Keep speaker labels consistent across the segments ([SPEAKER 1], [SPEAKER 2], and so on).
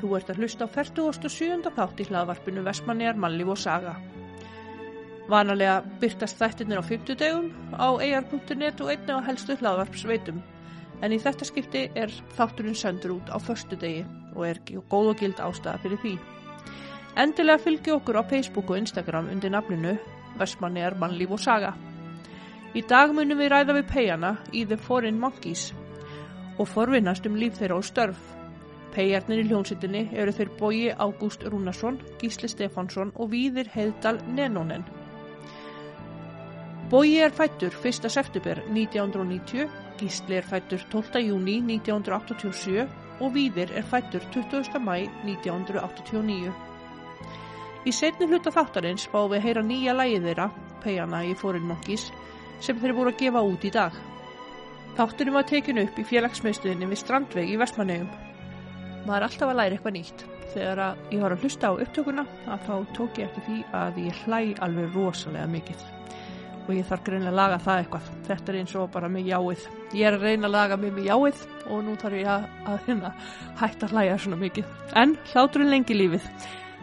[SPEAKER 1] Þú ert að hlusta á 47. þátt í hlaðvarpinu Vestmanniðar mannlíf og saga. Vanalega byrtast þættinir á 50 degum á ar.net og einnig á helstu hlaðvarpsveitum. En í þetta skipti er þátturinn sendur út á förstu degi og er gí- góð og gild ástæða fyrir því. Endilega fylgi okkur á Facebook og Instagram undir nafninu Vestmanniðar mannlíf og saga. Í dag munum við ræða við peyjana í The Foreign Monkeys og forvinnast um líf þeirra og störf. Peyjarnir í hljónsitinni eru þeir Bogi Ágúst Rúnarsson, Gísli Stefánsson og Víðir Heiðdal Nenónen. Bogi er fættur 1. september 1990, Gísli er fættur 12. júni 1987 og Víðir er fættur 20. mæ 1989. Í setni hluta þáttarins fáum við að heyra nýja lægið þeirra, Peyjana í Foreign Monkeys, sem þeir voru að gefa út í dag. Þátturinn var tekinu upp í félagsmiðstöðinni við Strandveg í Vestmanneum. Maður er alltaf að læra eitthvað nýtt. Þegar að ég var að hlusta á upptökuna að þá tók ég eftir því að ég hlæ alveg rosalega mikið. Og ég þarf greinlega að laga það eitthvað. Þetta er eins og bara með jáið. Ég er að reyna að laga mig með jáið og nú þarf ég að, að hérna, hætta að hlæja svona mikið. En hláturinn lengi lífið.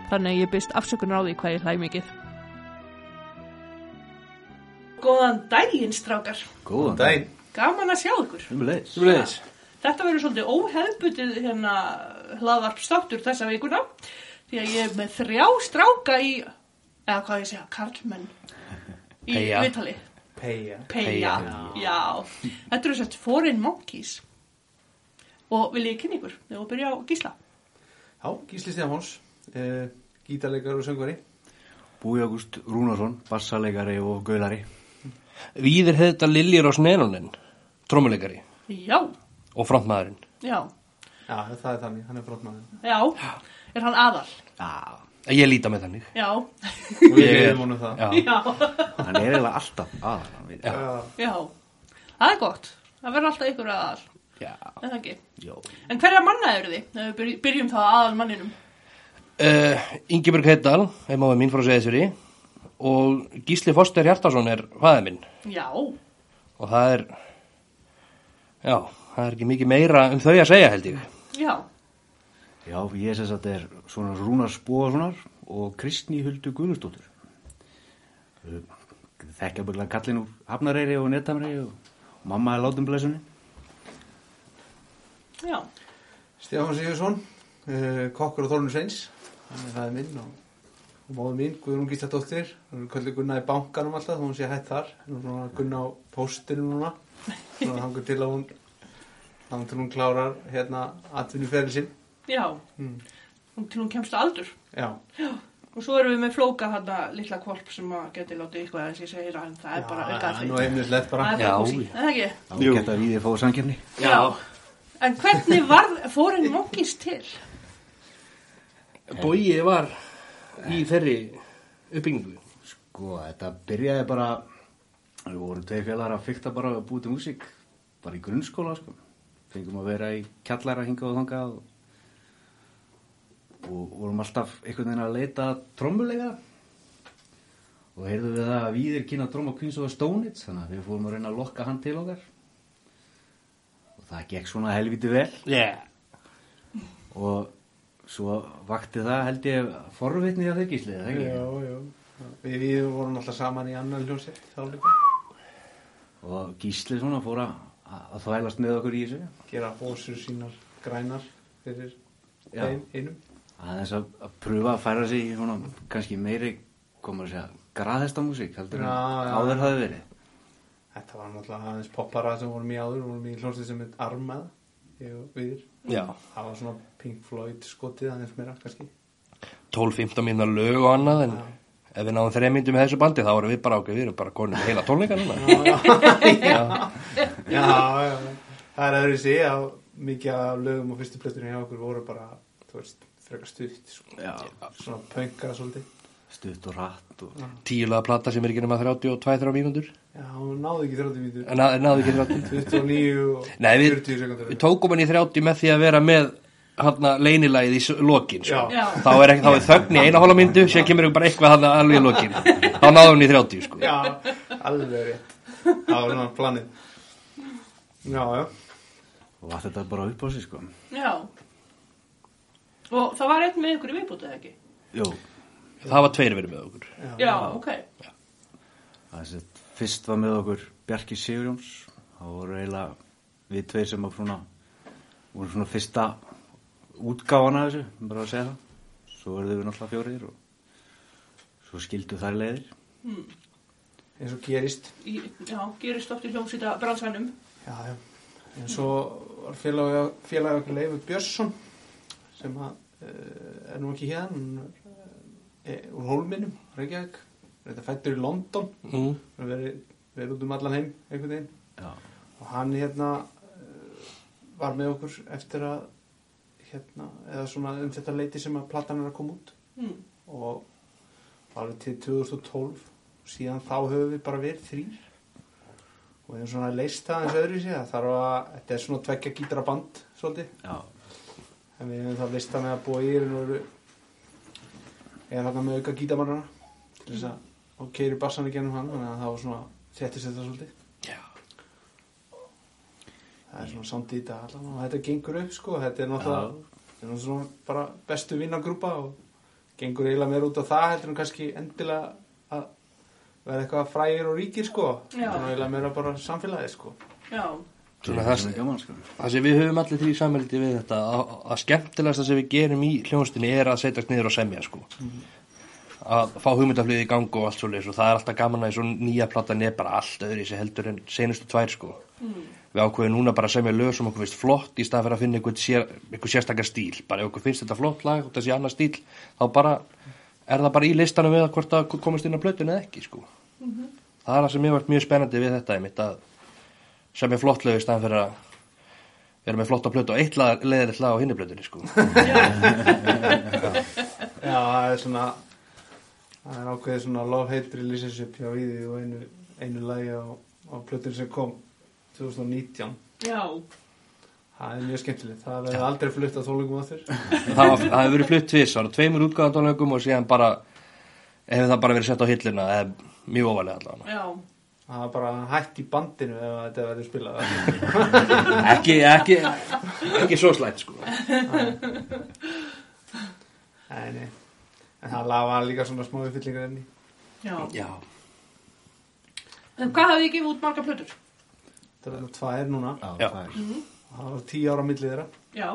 [SPEAKER 1] Þannig að ég byrst afsökunar á því hvað ég hlæ mikið. Góðan daginn, strákar.
[SPEAKER 2] Góðan
[SPEAKER 3] Dæn
[SPEAKER 1] Gaman að sjá ykkur.
[SPEAKER 2] Um leis.
[SPEAKER 4] Þú leiðis.
[SPEAKER 1] Þetta verður svolítið óhefbundið hérna hlaðvarpstáttur þessa vikuna því að ég er með þrjá stráka í, eða hvað ég segja, karlmenn í
[SPEAKER 2] Peyja.
[SPEAKER 1] viðtali.
[SPEAKER 3] Peja
[SPEAKER 1] Peja, já. Þetta eru sett Foreign Monkeys og vil ég kynna ykkur þegar við byrja á Gísla.
[SPEAKER 3] Já, Gísli Stefáns uh, Gítarleikar og söngvari
[SPEAKER 2] Búi Ágúst Rúnarsson, bassalegari og gauðari.
[SPEAKER 4] Víðir hefði þetta Liljurós Nenonin, trómuleikari
[SPEAKER 1] Já,
[SPEAKER 4] og frontmaðurinn.
[SPEAKER 1] já,
[SPEAKER 3] Já, það er þannig, hann er brotmaður
[SPEAKER 1] já, er hann aðal,
[SPEAKER 2] Já.
[SPEAKER 4] Ég líta með þannig.
[SPEAKER 1] já,
[SPEAKER 3] Og við
[SPEAKER 4] Ég er-
[SPEAKER 3] erum honum það
[SPEAKER 4] Já.
[SPEAKER 1] já,
[SPEAKER 2] Hann er eiginlega alltaf aðal. hann veit.
[SPEAKER 4] Já.
[SPEAKER 1] já. Það er gott, það verður alltaf ykkur aðal,
[SPEAKER 4] Já.
[SPEAKER 1] en það ekki.
[SPEAKER 2] Já.
[SPEAKER 1] En hverja manna eru þið? Ef við byrj- byrjum þá aðal manninum.
[SPEAKER 4] Uh, Ingeborg Heiddal, heimáði mín frá Seðisveri og Gísli Foster Hjartarsson er fæðið minn
[SPEAKER 1] Já,
[SPEAKER 4] og það er, já, það er ekki mikið meira um þau að segja held ég.
[SPEAKER 1] Já,
[SPEAKER 2] Já, ég sess að þetta er svona Rúnars Bóðarssonar og Kristni Huldu Guðnustóttur. Þekkja bygglega kallin úr Hafnareyri og Netamreyri og, og mamma er látum blessunni.
[SPEAKER 1] já,
[SPEAKER 3] Stefán Sigursson uh, Kokkur og Þornur Sveins Hann er það minn og, og móður mín Guðrún Gísladóttir Hann er kallið Gunna í bankanum alltaf þó hún sé hætt þar Nú er svona Gunna á póstinu núna Svona hangur til að hún Þannig til hún klárar hérna atvinnuferðin sinn
[SPEAKER 1] já.
[SPEAKER 3] Mm.
[SPEAKER 1] Og til hún kemst að aldur.
[SPEAKER 3] Já,
[SPEAKER 1] Og svo erum við með flóka hana litla kvolp sem að geti látið eitthvað að þessi segir að það er bara aukað
[SPEAKER 3] nú heimlislegt bara
[SPEAKER 1] Það er
[SPEAKER 4] Já,
[SPEAKER 1] bara kósi,
[SPEAKER 4] já.
[SPEAKER 1] en það ekki?
[SPEAKER 2] Þá geta við þið fóðu samkjöfni.
[SPEAKER 4] Já.
[SPEAKER 1] En hvernig varð, fór einn mongis til?
[SPEAKER 4] Bóið Eh. var í þeirri uppbyggingu.
[SPEAKER 2] Sko, þetta byrjaði bara, við vorum tvei félagar að fykta bara að búið til músík, bara í grunnskóla, sko. Fengum að vera í kjallara hingað og þangað og, og vorum alltaf einhvern veginn að leita trommuleika og heyrðum við það að við er kynna tromma Queens of the Stone Age, þannig að við fórum að reyna að lokka hann til okkar og það gekk svona helviti vel
[SPEAKER 4] Yeah.
[SPEAKER 2] og svo vakti það held ég forvitni að þau gíslið, það ekki?
[SPEAKER 3] Já, já Við, við vorum alltaf saman í annan hljómsett þá líka
[SPEAKER 2] og Gísli svona fór að, að þvælast með okkur í þessu
[SPEAKER 3] gera hósur sínar grænar fyrir
[SPEAKER 2] Já.
[SPEAKER 3] ein, einum
[SPEAKER 2] aðeins að, að pröfa að færa sig í svona kannski meiri komur að segja graðhesta músík heldur en
[SPEAKER 3] Já, já.
[SPEAKER 2] áður hafi verið
[SPEAKER 3] Þetta var náttúrulega aðeins poppara sem vorum í áður, vorum í hljómsið sem heit Armað, ég og viðir.
[SPEAKER 4] Já.
[SPEAKER 3] Það var svona Pink Floyd skotið aðeins meira, kannski.
[SPEAKER 4] 12-15 minna lög og annað en ef við náðum þreja myndum með þessu bandi þá erum við bara okkur, við erum bara konum heila tónleika núna.
[SPEAKER 3] Já, já, já. Það er öðru sig að mikið af lögum á fyrstu plötunni hjá okkur voru bara, þú veist, frekar stutt, sko.
[SPEAKER 2] já.
[SPEAKER 3] Svona pönka svolítið.
[SPEAKER 2] stutt og rætt og
[SPEAKER 4] Tíulega plata sem er ekki nema 32-3 mínútur.
[SPEAKER 3] Já, hún náði ekki 30 mítur.
[SPEAKER 4] En að- náðu ekki 30.
[SPEAKER 3] 29 og
[SPEAKER 4] Nei, við,
[SPEAKER 3] 40 sekundur.
[SPEAKER 4] við tókum hann í 30 með því að vera með hann að leynilægið í s- lokin sko.
[SPEAKER 3] Já.
[SPEAKER 1] Já.
[SPEAKER 4] þá er, ekki, þá er þögn í eina hóla myndu sér kemur ykkur bara eitthvað hann alveg í lokin þá náðum hann í 30 sko.
[SPEAKER 3] Já, alveg rétt. Það var svona planið. Já, já.
[SPEAKER 2] og allt þetta bara upp á sig sko
[SPEAKER 1] Já, Og það var einn með ykkur í viðbútið eða ekki?
[SPEAKER 2] Jú,
[SPEAKER 4] Það var tveir verið með okkur.
[SPEAKER 1] Já, ok.
[SPEAKER 2] það er sett fyrst var með okkur Bjarki Sigurjóns það voru eiginlega við tveir sem að svona voru svona fyrsta útgáfan af þessu, um bara að segja það svo verðum við náttúrulega fjórir og svo skildu þær leiðir
[SPEAKER 3] eins og gerist
[SPEAKER 1] Í, já, gerist oft í hljómsýta bransanum.
[SPEAKER 3] já, já. en svo var félagi félagi okkur Leifur Björnsson sem að, uh, er nú ekki hér hún er eh, úr Hólminum, Reykjavík er þetta fættur í London
[SPEAKER 4] Mm.
[SPEAKER 3] hann er verið, verið út um allan heim einhvern veginn
[SPEAKER 2] Já,
[SPEAKER 3] og hann hérna eh, var með okkur eftir að hérna, eða svona um þetta leiti sem að platan er að koma út
[SPEAKER 1] Mm.
[SPEAKER 3] og alveg til 2012 síðan þá höfum við bara verið þrýr og við erum svona leist það eins öðru sér það þarf að, þetta er svona tvekja gítara band svolítið,
[SPEAKER 2] já,
[SPEAKER 3] en við hefum það leist það með að búa í og eru eða þarna með auka gítamannana til þess að og keiri bassan í gennum hann þannig að það var svona þéttist þetta svolítið
[SPEAKER 4] Já.
[SPEAKER 3] það er svona samt í þetta allan og þetta gengur upp sko, þetta er náttúrulega þetta er náttúrulega svona bara bestu vinnagrúpa og gengur eiginlega meir út á það heldur en kannski endilega að verða eitthvað frægir og ríkir sko
[SPEAKER 1] Já.
[SPEAKER 3] þetta er nú eiginlega meira bara samfélagið sko
[SPEAKER 1] Já,
[SPEAKER 4] Svona
[SPEAKER 2] það er
[SPEAKER 4] það-
[SPEAKER 2] svona gaman sko
[SPEAKER 4] Það sem við höfum allir því samhældi við þetta að, að skemmtilegasta sem við gerum í hljónstinni er að setjast niður og semja sko. að fá hugmyndaflið í gang og allt svo og það er alltaf gaman að í svona nýja platan er bara allt öðru í sig heldur en senustu tvær sko. við ákveðum núna bara að semja lög sem okkur finnst flott í stað fyrir að finna einhver, sér, einhver sérstakar stíl bara ef okkur finnst þetta flott lag og þessi annar stíl þá bara er það bara í listanum við að hvort það komast inn á blötun eða ekki sko. það er það sem mér vart mjög spennandi við þetta einmitt að semja flott lög í stað fyrir að við erum með flotta plötu og eitt lag leðilegt lag á hinni plötunni sko
[SPEAKER 3] Já, það er svona það er ákveðið svona love-hate relationship hjá Íði og einu, einu lagi á, á plötun sem kom 2019
[SPEAKER 1] já,
[SPEAKER 3] það er mjög skemmtilegt, það verður aldrei flutt á tólingum á þér
[SPEAKER 4] það var- það hefur verið flutt tvís, það var tveimur útgáðandónleikum og síðan bara hefur það bara verið sett á hillina eða mjög ofalega allavega
[SPEAKER 1] já.
[SPEAKER 3] það er bara hætt í bandinu ef að þetta verður spilað
[SPEAKER 4] ekki, ekki, ekki svo slætt sko
[SPEAKER 3] Nei, nei. En það lafa líka svona smá uppfyllingar enni.
[SPEAKER 1] Já.
[SPEAKER 4] já,
[SPEAKER 1] En hvað hafið þið gefið út marga plötur?
[SPEAKER 3] Það er nú tvær núna.
[SPEAKER 2] Já,
[SPEAKER 4] Já.
[SPEAKER 2] það er
[SPEAKER 3] og Það var tíu ára millið þeirra
[SPEAKER 1] Já,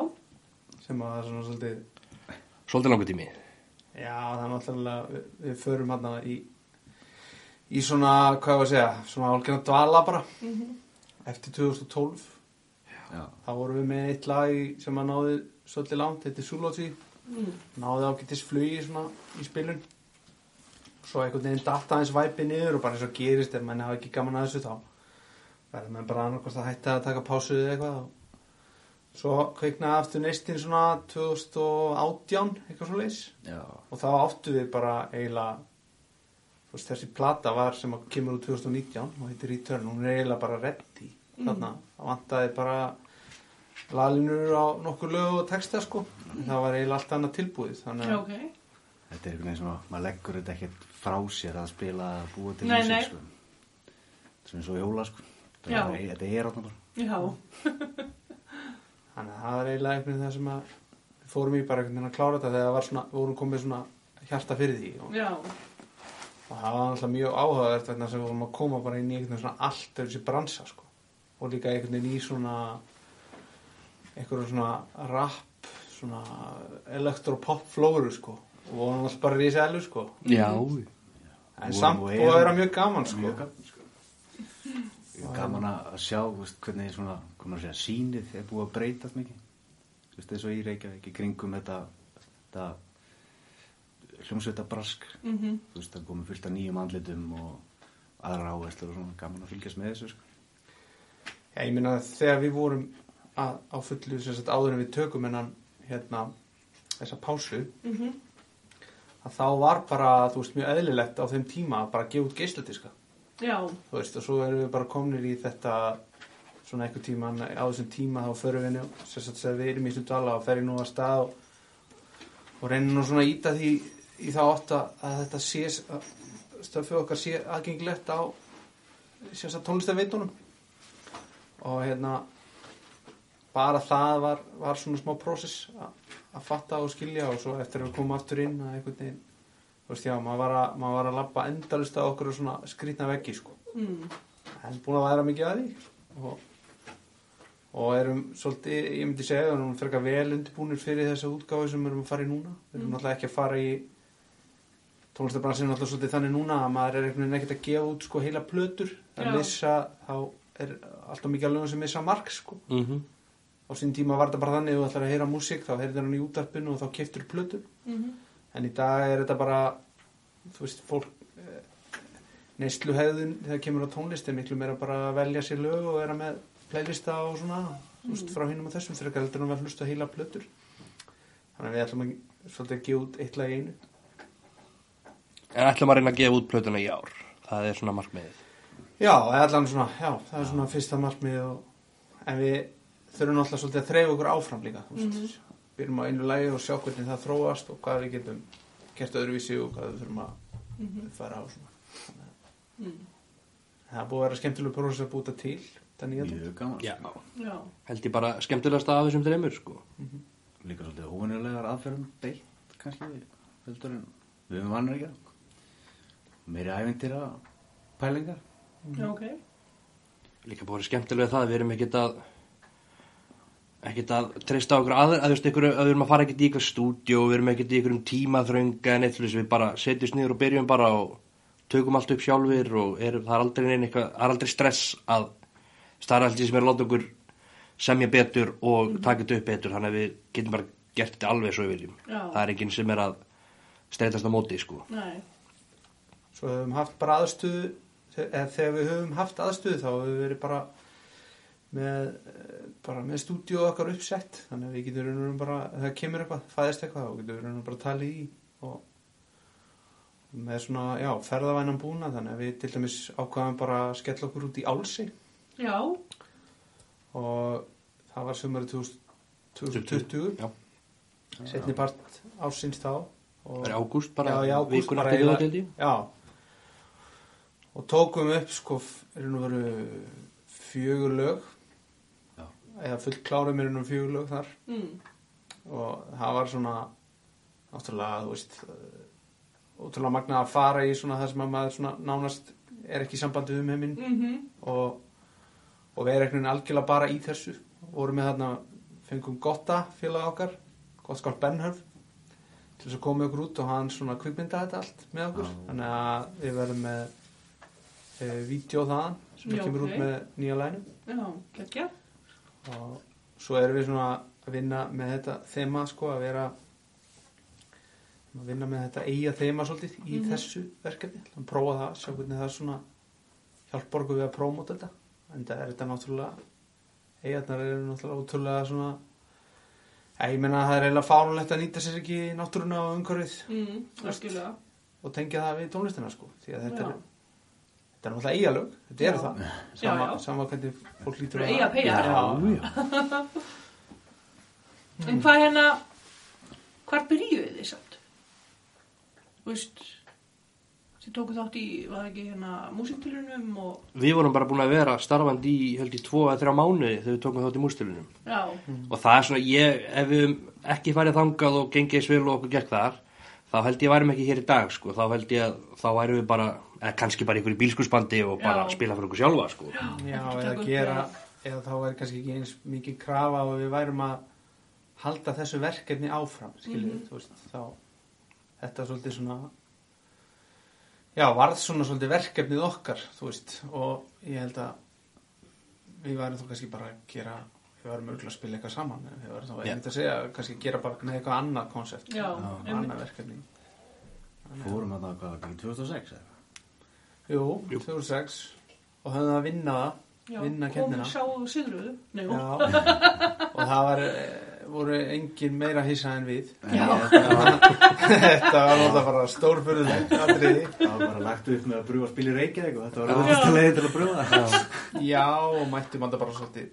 [SPEAKER 3] sem að það er svona svolítið...
[SPEAKER 4] svolítið langur tími
[SPEAKER 3] Já, það er náttúrulega... Við, við förum hann í, í svona, hvað ég var að segja, svona álgjörna dvala bara. Eftir 2012.
[SPEAKER 2] Já,
[SPEAKER 3] Þá vorum við með eitt lag í- sem að náði svolítið langt. Þetta er Sulotí. Náði ágættis flugi svona í spilun. Svo einhvern veginn datta aðeins væpi niður og bara eins og gerist ef mann hafa ekki gaman að þessu þá. verður maður bara annarkvæmst að hætta að taka pásu eða eitthvað og svo kveiknaði aftur neistinn svona 2018 eitthvað svo leis
[SPEAKER 2] já,
[SPEAKER 3] og þá áttu við bara eiginlega þú veist, þessi plata var sem að kemur úr 2019 og heitir Return, hún er eiginlega bara ready þarna, það vantaði bara lalinur á nokkur lög og texta sko, en það var eiginlega allt annað tilbúið, þannig
[SPEAKER 1] já,
[SPEAKER 3] að
[SPEAKER 1] ok.
[SPEAKER 2] þetta er einhvern veginn svona maður leggur þetta ekkert frá sér að spila að búa til
[SPEAKER 1] Nei,
[SPEAKER 2] músík,
[SPEAKER 1] nei.
[SPEAKER 2] sko. Þetta er eins og jóla sko Þetta
[SPEAKER 1] Já.
[SPEAKER 2] er- þetta er sko. átna bara
[SPEAKER 1] Já,
[SPEAKER 3] Þannig að það var eiginlega einhvern veginn það sem að við fórum í bara einhvern veginn að klára þetta þegar það var svona, við vorum komið svona hjarta fyrir því og,
[SPEAKER 1] já,
[SPEAKER 3] og það var alltaf mjög áhugavert vegna sem við vorum að koma bara inn í einhvern veginn svona allt öðru sér bransa sko og líka einhvern veginn í svona einhverjum svona rap, svona elektropop flóru sko og vorum alltaf bara í þessi elu sko
[SPEAKER 4] já,
[SPEAKER 3] en
[SPEAKER 2] Vorum
[SPEAKER 3] samt
[SPEAKER 2] og
[SPEAKER 3] og
[SPEAKER 2] erum.
[SPEAKER 3] það er mjög gaman sko
[SPEAKER 2] Mjög gaman, sko. Ég er gaman að að sjá þú veist, hvernig svona, hvernig að segja, sýnið er búið að breytast mikið Þú veist, eins og ég reykja ekki kringum þetta, þetta hljómsveita brask
[SPEAKER 1] mhm,
[SPEAKER 2] þú veist, það komið fullt af nýjum andlitum og aðra áherslur og svona gaman að fylgjast með þessu sko.
[SPEAKER 3] Já, ég meina að þegar við vorum að, á fullu sem sagt áður en við tökum hennan hérna þessa pásu
[SPEAKER 1] mhm,
[SPEAKER 3] að þá var bara, þú veist, mjög eðlilegt á þeim tíma að bara gefa út geisladiska
[SPEAKER 1] já,
[SPEAKER 3] þú veist, og svo erum við bara komnir í þetta svona einhver tíma á þessum tíma þá förum við nú, sem sagt, sem við erum í þessum dala og ferum nú að stað og, og reynum nú svona að íta því í þá átt að að þetta sé að stöfið okkar sé aðgengilegt á sem sagt tónlistarveitunum og hérna bara það var, var svona smá prósess að að fatta og skilja og svo eftir að við komum aftur inn að einhvern veginn þú veist já, maður var að, maður var að labba endalist á okkur svona skrýtna veggi sko
[SPEAKER 1] Mm.
[SPEAKER 3] en búin að væra mikið að því og, og erum svolítið, ég myndi segja að erum frekar vel undirbúnir fyrir þessa útgáfi sem við erum að fara í núna við erum náttúrulega ekki að fara í tónlistabransin náttúrulega svolítið þannig núna að maður er einhvern veginn ekkert að gefa út sko heila plötur
[SPEAKER 1] Já.
[SPEAKER 3] að missa, þá er alltaf mikið að lögum sem missa mark sko
[SPEAKER 4] mm
[SPEAKER 3] á sín tíma var þetta bara þannig að þú ætlar að heyra músík þá heyrðir hann í útarpinu og þá keftur plötur
[SPEAKER 1] mhm,
[SPEAKER 3] en í dag er þetta bara þú veist, fólk eh, neysluhegðun þegar kemur á tónlist er miklu meira bara að velja sér lög og vera með playlista og svona þú veist, frá hinnum og þessum frekar heldur en að vera hlusta á heila plötur þannig að við ætlum að svolítið að gefa út eitt lag í einu
[SPEAKER 4] En ætlum að reyna að gefa út plötuna í ár Það er svona markmiðið
[SPEAKER 3] já, eða allan svona, já, það er svona fyrsta markmið og, en við þurfum alltaf svolítið að þreyfa okkur áfram líka þú veist, byrjum á einu lagi og sjá hvernig það þróast og hvað við getum gert öðruvísi og hvað við þurfum að fara á svona Þannig að- það er búið að vera skemmtilega prófis að búta til þetta nýja tótt
[SPEAKER 2] Mjög gaman.
[SPEAKER 4] Já,
[SPEAKER 1] Já.
[SPEAKER 4] held ég bara skemmtilegasta af þessum þreymur sko
[SPEAKER 2] Líka svolítið óvinnilegar aðferðum beitt kannski heldur en við erum vannar ekki að. Meiri ævintýra pælingar.
[SPEAKER 1] Já, ok.
[SPEAKER 4] Líka bara skemmtilega það, við erum ekkert að ekkert að treysta á okkur aður, að þú veist, ykkur, að við erum að fara ekkert í eitthvað stúdíó, við erum ekkert í einhverjum tímaþrönga en eitthvað við bara setjumst niður og byrjum bara og tökum allt upp sjálfur og er, það er aldrei neina eitthvað, það er aldrei stress að starfaldi sem er að láta okkur semja betur og
[SPEAKER 3] Mhm.
[SPEAKER 4] taka þetta upp betur, þannig að við getum bara gert þetta alveg svo við viljum.
[SPEAKER 1] Já.
[SPEAKER 4] Það er enginn sem er að streytast á móti, sko.
[SPEAKER 1] Nei.
[SPEAKER 3] svo höfum haft bara aðstöðu eða þegar við höfum haft aðstöðu þá höfum við verið bara með, eh, bara með stúdíu okkar uppsett þannig að við getum raunum bara ef það kemur eitthvað, fæðist eitthvað og getum raunum bara talið í og með svona, já, ferðavænan búna þannig að við til dæmis ákvaðum bara að skella okkur út í álsi
[SPEAKER 1] Já.
[SPEAKER 3] og það var sömari 2020
[SPEAKER 4] Já,
[SPEAKER 3] setni part ásins þá og,
[SPEAKER 4] það er ágúst bara,
[SPEAKER 3] já, í ágúst
[SPEAKER 4] vikuna
[SPEAKER 3] bara
[SPEAKER 4] eftir
[SPEAKER 3] eiginlega-
[SPEAKER 4] þjóðhátíð, held ég.
[SPEAKER 3] já og tókum upp sko f- í raun og veru fjögur lög
[SPEAKER 2] Já.
[SPEAKER 3] eða fullklárum er um fjögur lög þar
[SPEAKER 1] Mm.
[SPEAKER 3] og það var svona náttúrulega, þú veist eh, ótrúlega magna að fara í svona það sem að maður svona nánast er ekki í sambandi um heiminn
[SPEAKER 1] Mm
[SPEAKER 3] og, og við erum einhvern veginn algjörlega bara í þessu vorum við þarna, fengum gotta félag okkar, gottskál Benhörf til þess að koma okkur út og hann svona kvikmynda þetta allt með okkur
[SPEAKER 2] Já.
[SPEAKER 3] þannig að við verðum með e, vídeo þaðan sem
[SPEAKER 1] Já,
[SPEAKER 3] kemur
[SPEAKER 1] ok.
[SPEAKER 3] út með nýja lænum
[SPEAKER 1] Já, geggja.
[SPEAKER 3] og svo erum við svona að vinna með þetta þema sko að vera að vinna með þetta eiga þema svolítið í
[SPEAKER 1] Mhm.
[SPEAKER 3] þessu verkefni að prófa það, sjá hvernig það svona hjálpar okkur við að prómóta þetta en það er þetta náttúrulega eigarnar eru náttúrulega ótrúlega svona eða ég meina að það er eiginlega fárulegt að nýta sér ekki náttúruna og umhverfið
[SPEAKER 1] Mm. Öskilega.
[SPEAKER 3] og tengja það við tónlistina sko því að þetta
[SPEAKER 1] Já.
[SPEAKER 3] er þetta er náttúrulega eigalög, þetta eru
[SPEAKER 1] Já.
[SPEAKER 3] það
[SPEAKER 1] Já, já.
[SPEAKER 3] sama, sama hvernig fólk lítur á
[SPEAKER 1] Eiga
[SPEAKER 3] það.
[SPEAKER 1] peyjar.
[SPEAKER 3] Já,
[SPEAKER 1] En hvað hérna, hvar byrjuðu þið samt? Þú veist, þið tóku þátt í, var það ekki hérna, músiktilunum og,
[SPEAKER 4] Við vorum bara búin að vera starfandi í held í tvo eða þrjá mánuði þegar við tókum þátt í mústilunum
[SPEAKER 1] já,
[SPEAKER 4] og það er svona, ég, ef við höfum ekki farið þangað og gengið eins vel og okkur gekk þar þá held ég værum ekki hér í dag sko, þá held ég að þá værum við bara eða kannski bara ykkur í bílskursbandi og bara
[SPEAKER 1] Já.
[SPEAKER 4] spila fyrir okkur sjálfa sko.
[SPEAKER 1] Ekki
[SPEAKER 3] Já,
[SPEAKER 1] taka
[SPEAKER 3] eða
[SPEAKER 1] upp
[SPEAKER 3] gera,
[SPEAKER 1] meira.
[SPEAKER 3] eða þá er kannski ekki eins mikið krafa og við værum að halda þessu verkefni áfram, skiljið,
[SPEAKER 1] Mhm.
[SPEAKER 3] þú veist, þá þetta er svolítið svona, já, varð svona svolítið verkefnið okkar, þú veist, og ég held að við værum þá kannski bara að gera, við værum auðvitað að spila eitthvað saman, en við værum þá
[SPEAKER 4] Já.
[SPEAKER 3] einmitt að segja, kannski gera bara með eitthvað annað konsept,
[SPEAKER 1] Já, einmitt.
[SPEAKER 3] annað verkefni.
[SPEAKER 2] Fórum að það hvað, ekki 2006 eða?
[SPEAKER 3] Jú, 2006, og höfðum að vinna það,
[SPEAKER 1] já,
[SPEAKER 3] vinna
[SPEAKER 1] komu
[SPEAKER 3] kemdina.
[SPEAKER 1] sá og sigruðu, nei, já,
[SPEAKER 3] Já, og það var, eh, voru engin meira hissa en við.
[SPEAKER 1] já,
[SPEAKER 3] Þetta var náttúrulega bara stórfurðulegt atriði.
[SPEAKER 2] Það var bara lagt upp með að brúa spil í Reykjavík og þetta var
[SPEAKER 1] Já.
[SPEAKER 2] ofta leiði til að brúa það.
[SPEAKER 3] Já, og mættum alltaf bara svolítið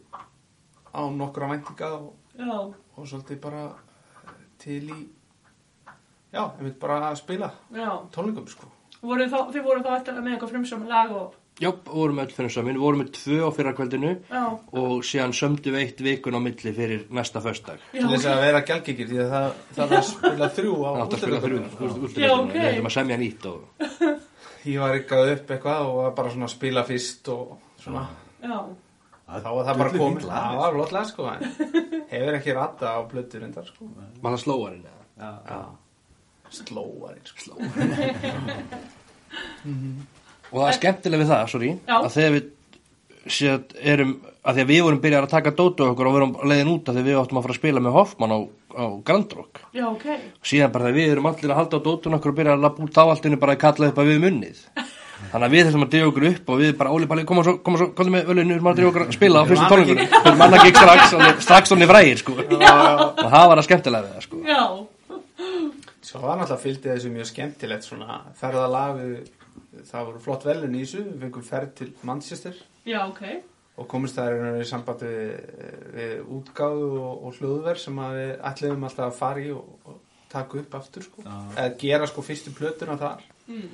[SPEAKER 3] á nokkra væntinga og,
[SPEAKER 1] já,
[SPEAKER 3] og svolítið bara eh, til í, já, einmitt bara að spila
[SPEAKER 1] já.
[SPEAKER 3] tónlingum, sko.
[SPEAKER 1] Voru þá, þið voru þá eftir með eitthvað frumsum lag og,
[SPEAKER 4] Jáp, vorum öll fyrir samin, vorum við tvö á fyrra kvöldinu
[SPEAKER 1] Já.
[SPEAKER 4] og síðan sömdu við eitt vikun á milli fyrir næsta föstdag.
[SPEAKER 1] Já,
[SPEAKER 3] Til þess að vera gælgikir því að það, það er að spila þrjú á
[SPEAKER 4] Það átti að spila þrjú,
[SPEAKER 3] útileikunum.
[SPEAKER 4] úrstu
[SPEAKER 1] Já, ok.
[SPEAKER 4] við ætlum að semja nýtt og
[SPEAKER 3] Ég var ykkað upp eitthvað og var bara svona að spila fyrst og svona.
[SPEAKER 1] já,
[SPEAKER 3] Þá var það bara
[SPEAKER 2] Dullu
[SPEAKER 3] komið.
[SPEAKER 2] fínt lag.
[SPEAKER 3] Það var flott lag sko. en Hefur ekki ratta á blötu reyndar sko.
[SPEAKER 4] mann að slóa henni.
[SPEAKER 3] Já. Slóarinn sko.
[SPEAKER 4] Og það er skemmtilega við það, sorry,
[SPEAKER 1] Já.
[SPEAKER 4] að þegar við séð, erum, að því að við vorum byrjar að taka dótu okkur og vorum leiðin út að því að við áttum að fara að spila með Hoffmann á, á Grand Rock.
[SPEAKER 1] já, ok.
[SPEAKER 4] Síðan bara þegar við erum allir að halda á dótun okkur og byrja að labba út á allt inni bara að kalla upp að við munnið. Þannig að við þessum að drífa okkur upp og við bara óli bali, koma svo, koma svo, koma með ölinu, við erum að drífa okkur að spila á fyrstu tónlingunni. Við erum annað gikk strax, alveg- strax onni frægir, sko. Og það var að skemmtilega við það, sko.
[SPEAKER 1] Já,
[SPEAKER 3] Svo var náttúrulega fylgdi þessu mjög skemmtilegt svona ferðalag við- það voru flott velun í þessu, við fengum ferð til Manchester
[SPEAKER 1] já, ok.
[SPEAKER 3] og komist það í raun og veru í samband við, við útgáðu og, og hljóðverð sem að við ætliðum alltaf að fara í og, og taka upp aftur sko. eða gera sko fyrstu plötuna þar
[SPEAKER 1] Mm.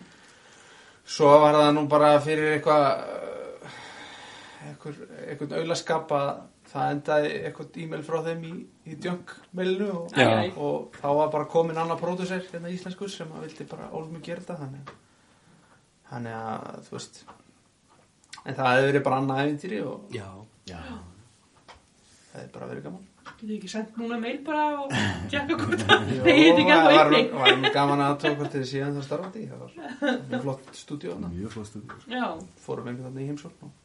[SPEAKER 3] svo var það nú bara fyrir eitthvað eh, einhver, einhvern aulaskap að það endaði eitthvað e-mail frá þeim í, í djöngmeilinu og,
[SPEAKER 4] Já.
[SPEAKER 1] Æ, æ.
[SPEAKER 3] og þá var bara komin annar pródusser hérna íslenskur sem að vildi bara ólmi gera þetta þannig, þannig að þú veist en það hefði verið bara annað æfintýri og
[SPEAKER 4] Já.
[SPEAKER 2] Já,
[SPEAKER 3] Það er bara verið gaman.
[SPEAKER 1] Getur ekki sendt núna mail bara og tjekka hvort það Nei, ég er ekki að
[SPEAKER 3] var,
[SPEAKER 1] það
[SPEAKER 3] var,
[SPEAKER 1] inni.
[SPEAKER 3] var gaman að tók hvort þið síðan það starfandi. í. Það var flott stúdíu hana.
[SPEAKER 2] mjög flott stúdíu.
[SPEAKER 1] Já,
[SPEAKER 3] Fórum einhvern veginn í heimsókn. og-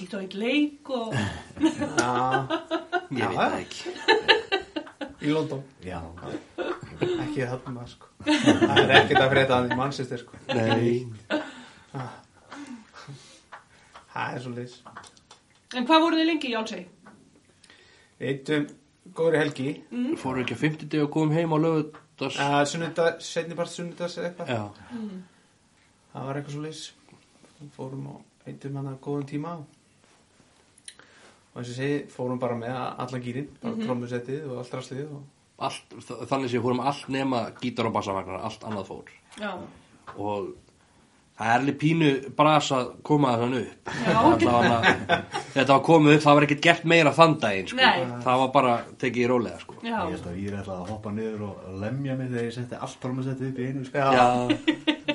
[SPEAKER 1] ít og eitt leik og...
[SPEAKER 3] Já,
[SPEAKER 4] Ég veit það ekki.
[SPEAKER 3] í London.
[SPEAKER 2] Já,
[SPEAKER 3] Ekki að höfnum það, sko. Það er ekkert að frétta að því mannsistir, sko.
[SPEAKER 4] Nei.
[SPEAKER 3] Það er svo leys.
[SPEAKER 1] En hvað voruð þið lengi í Jálsey?
[SPEAKER 3] Eittum, góðri helgi.
[SPEAKER 4] Fóru ekki að 50 og komum heim á lögutas.
[SPEAKER 3] Uh, sunnudag, setni part sunnudags eða eitthvað.
[SPEAKER 4] Já.
[SPEAKER 3] Það var eitthvað svo leys. Fórum og eittum hana góðan tíma. Og eins og ég segi, fórum bara með allan gýrin. Bara trommusettið og allt rastlið og...
[SPEAKER 4] Allt, þ- þannig séu fórum allt nema gítar og bassavagnar, allt annað fór.
[SPEAKER 1] Já,
[SPEAKER 4] og það er alveg pínu bras að koma þann upp
[SPEAKER 1] Já.
[SPEAKER 4] Allavega, þetta var komið upp, það var ekkert gert meira þann daginn sko.
[SPEAKER 1] Nei.
[SPEAKER 4] það var bara tekið í rólega sko.
[SPEAKER 1] já,
[SPEAKER 2] ég held að ég ætlaði að hoppa niður og lemja mig þegar ég setti allt trommasettið upp í einu. Sko.
[SPEAKER 4] Já,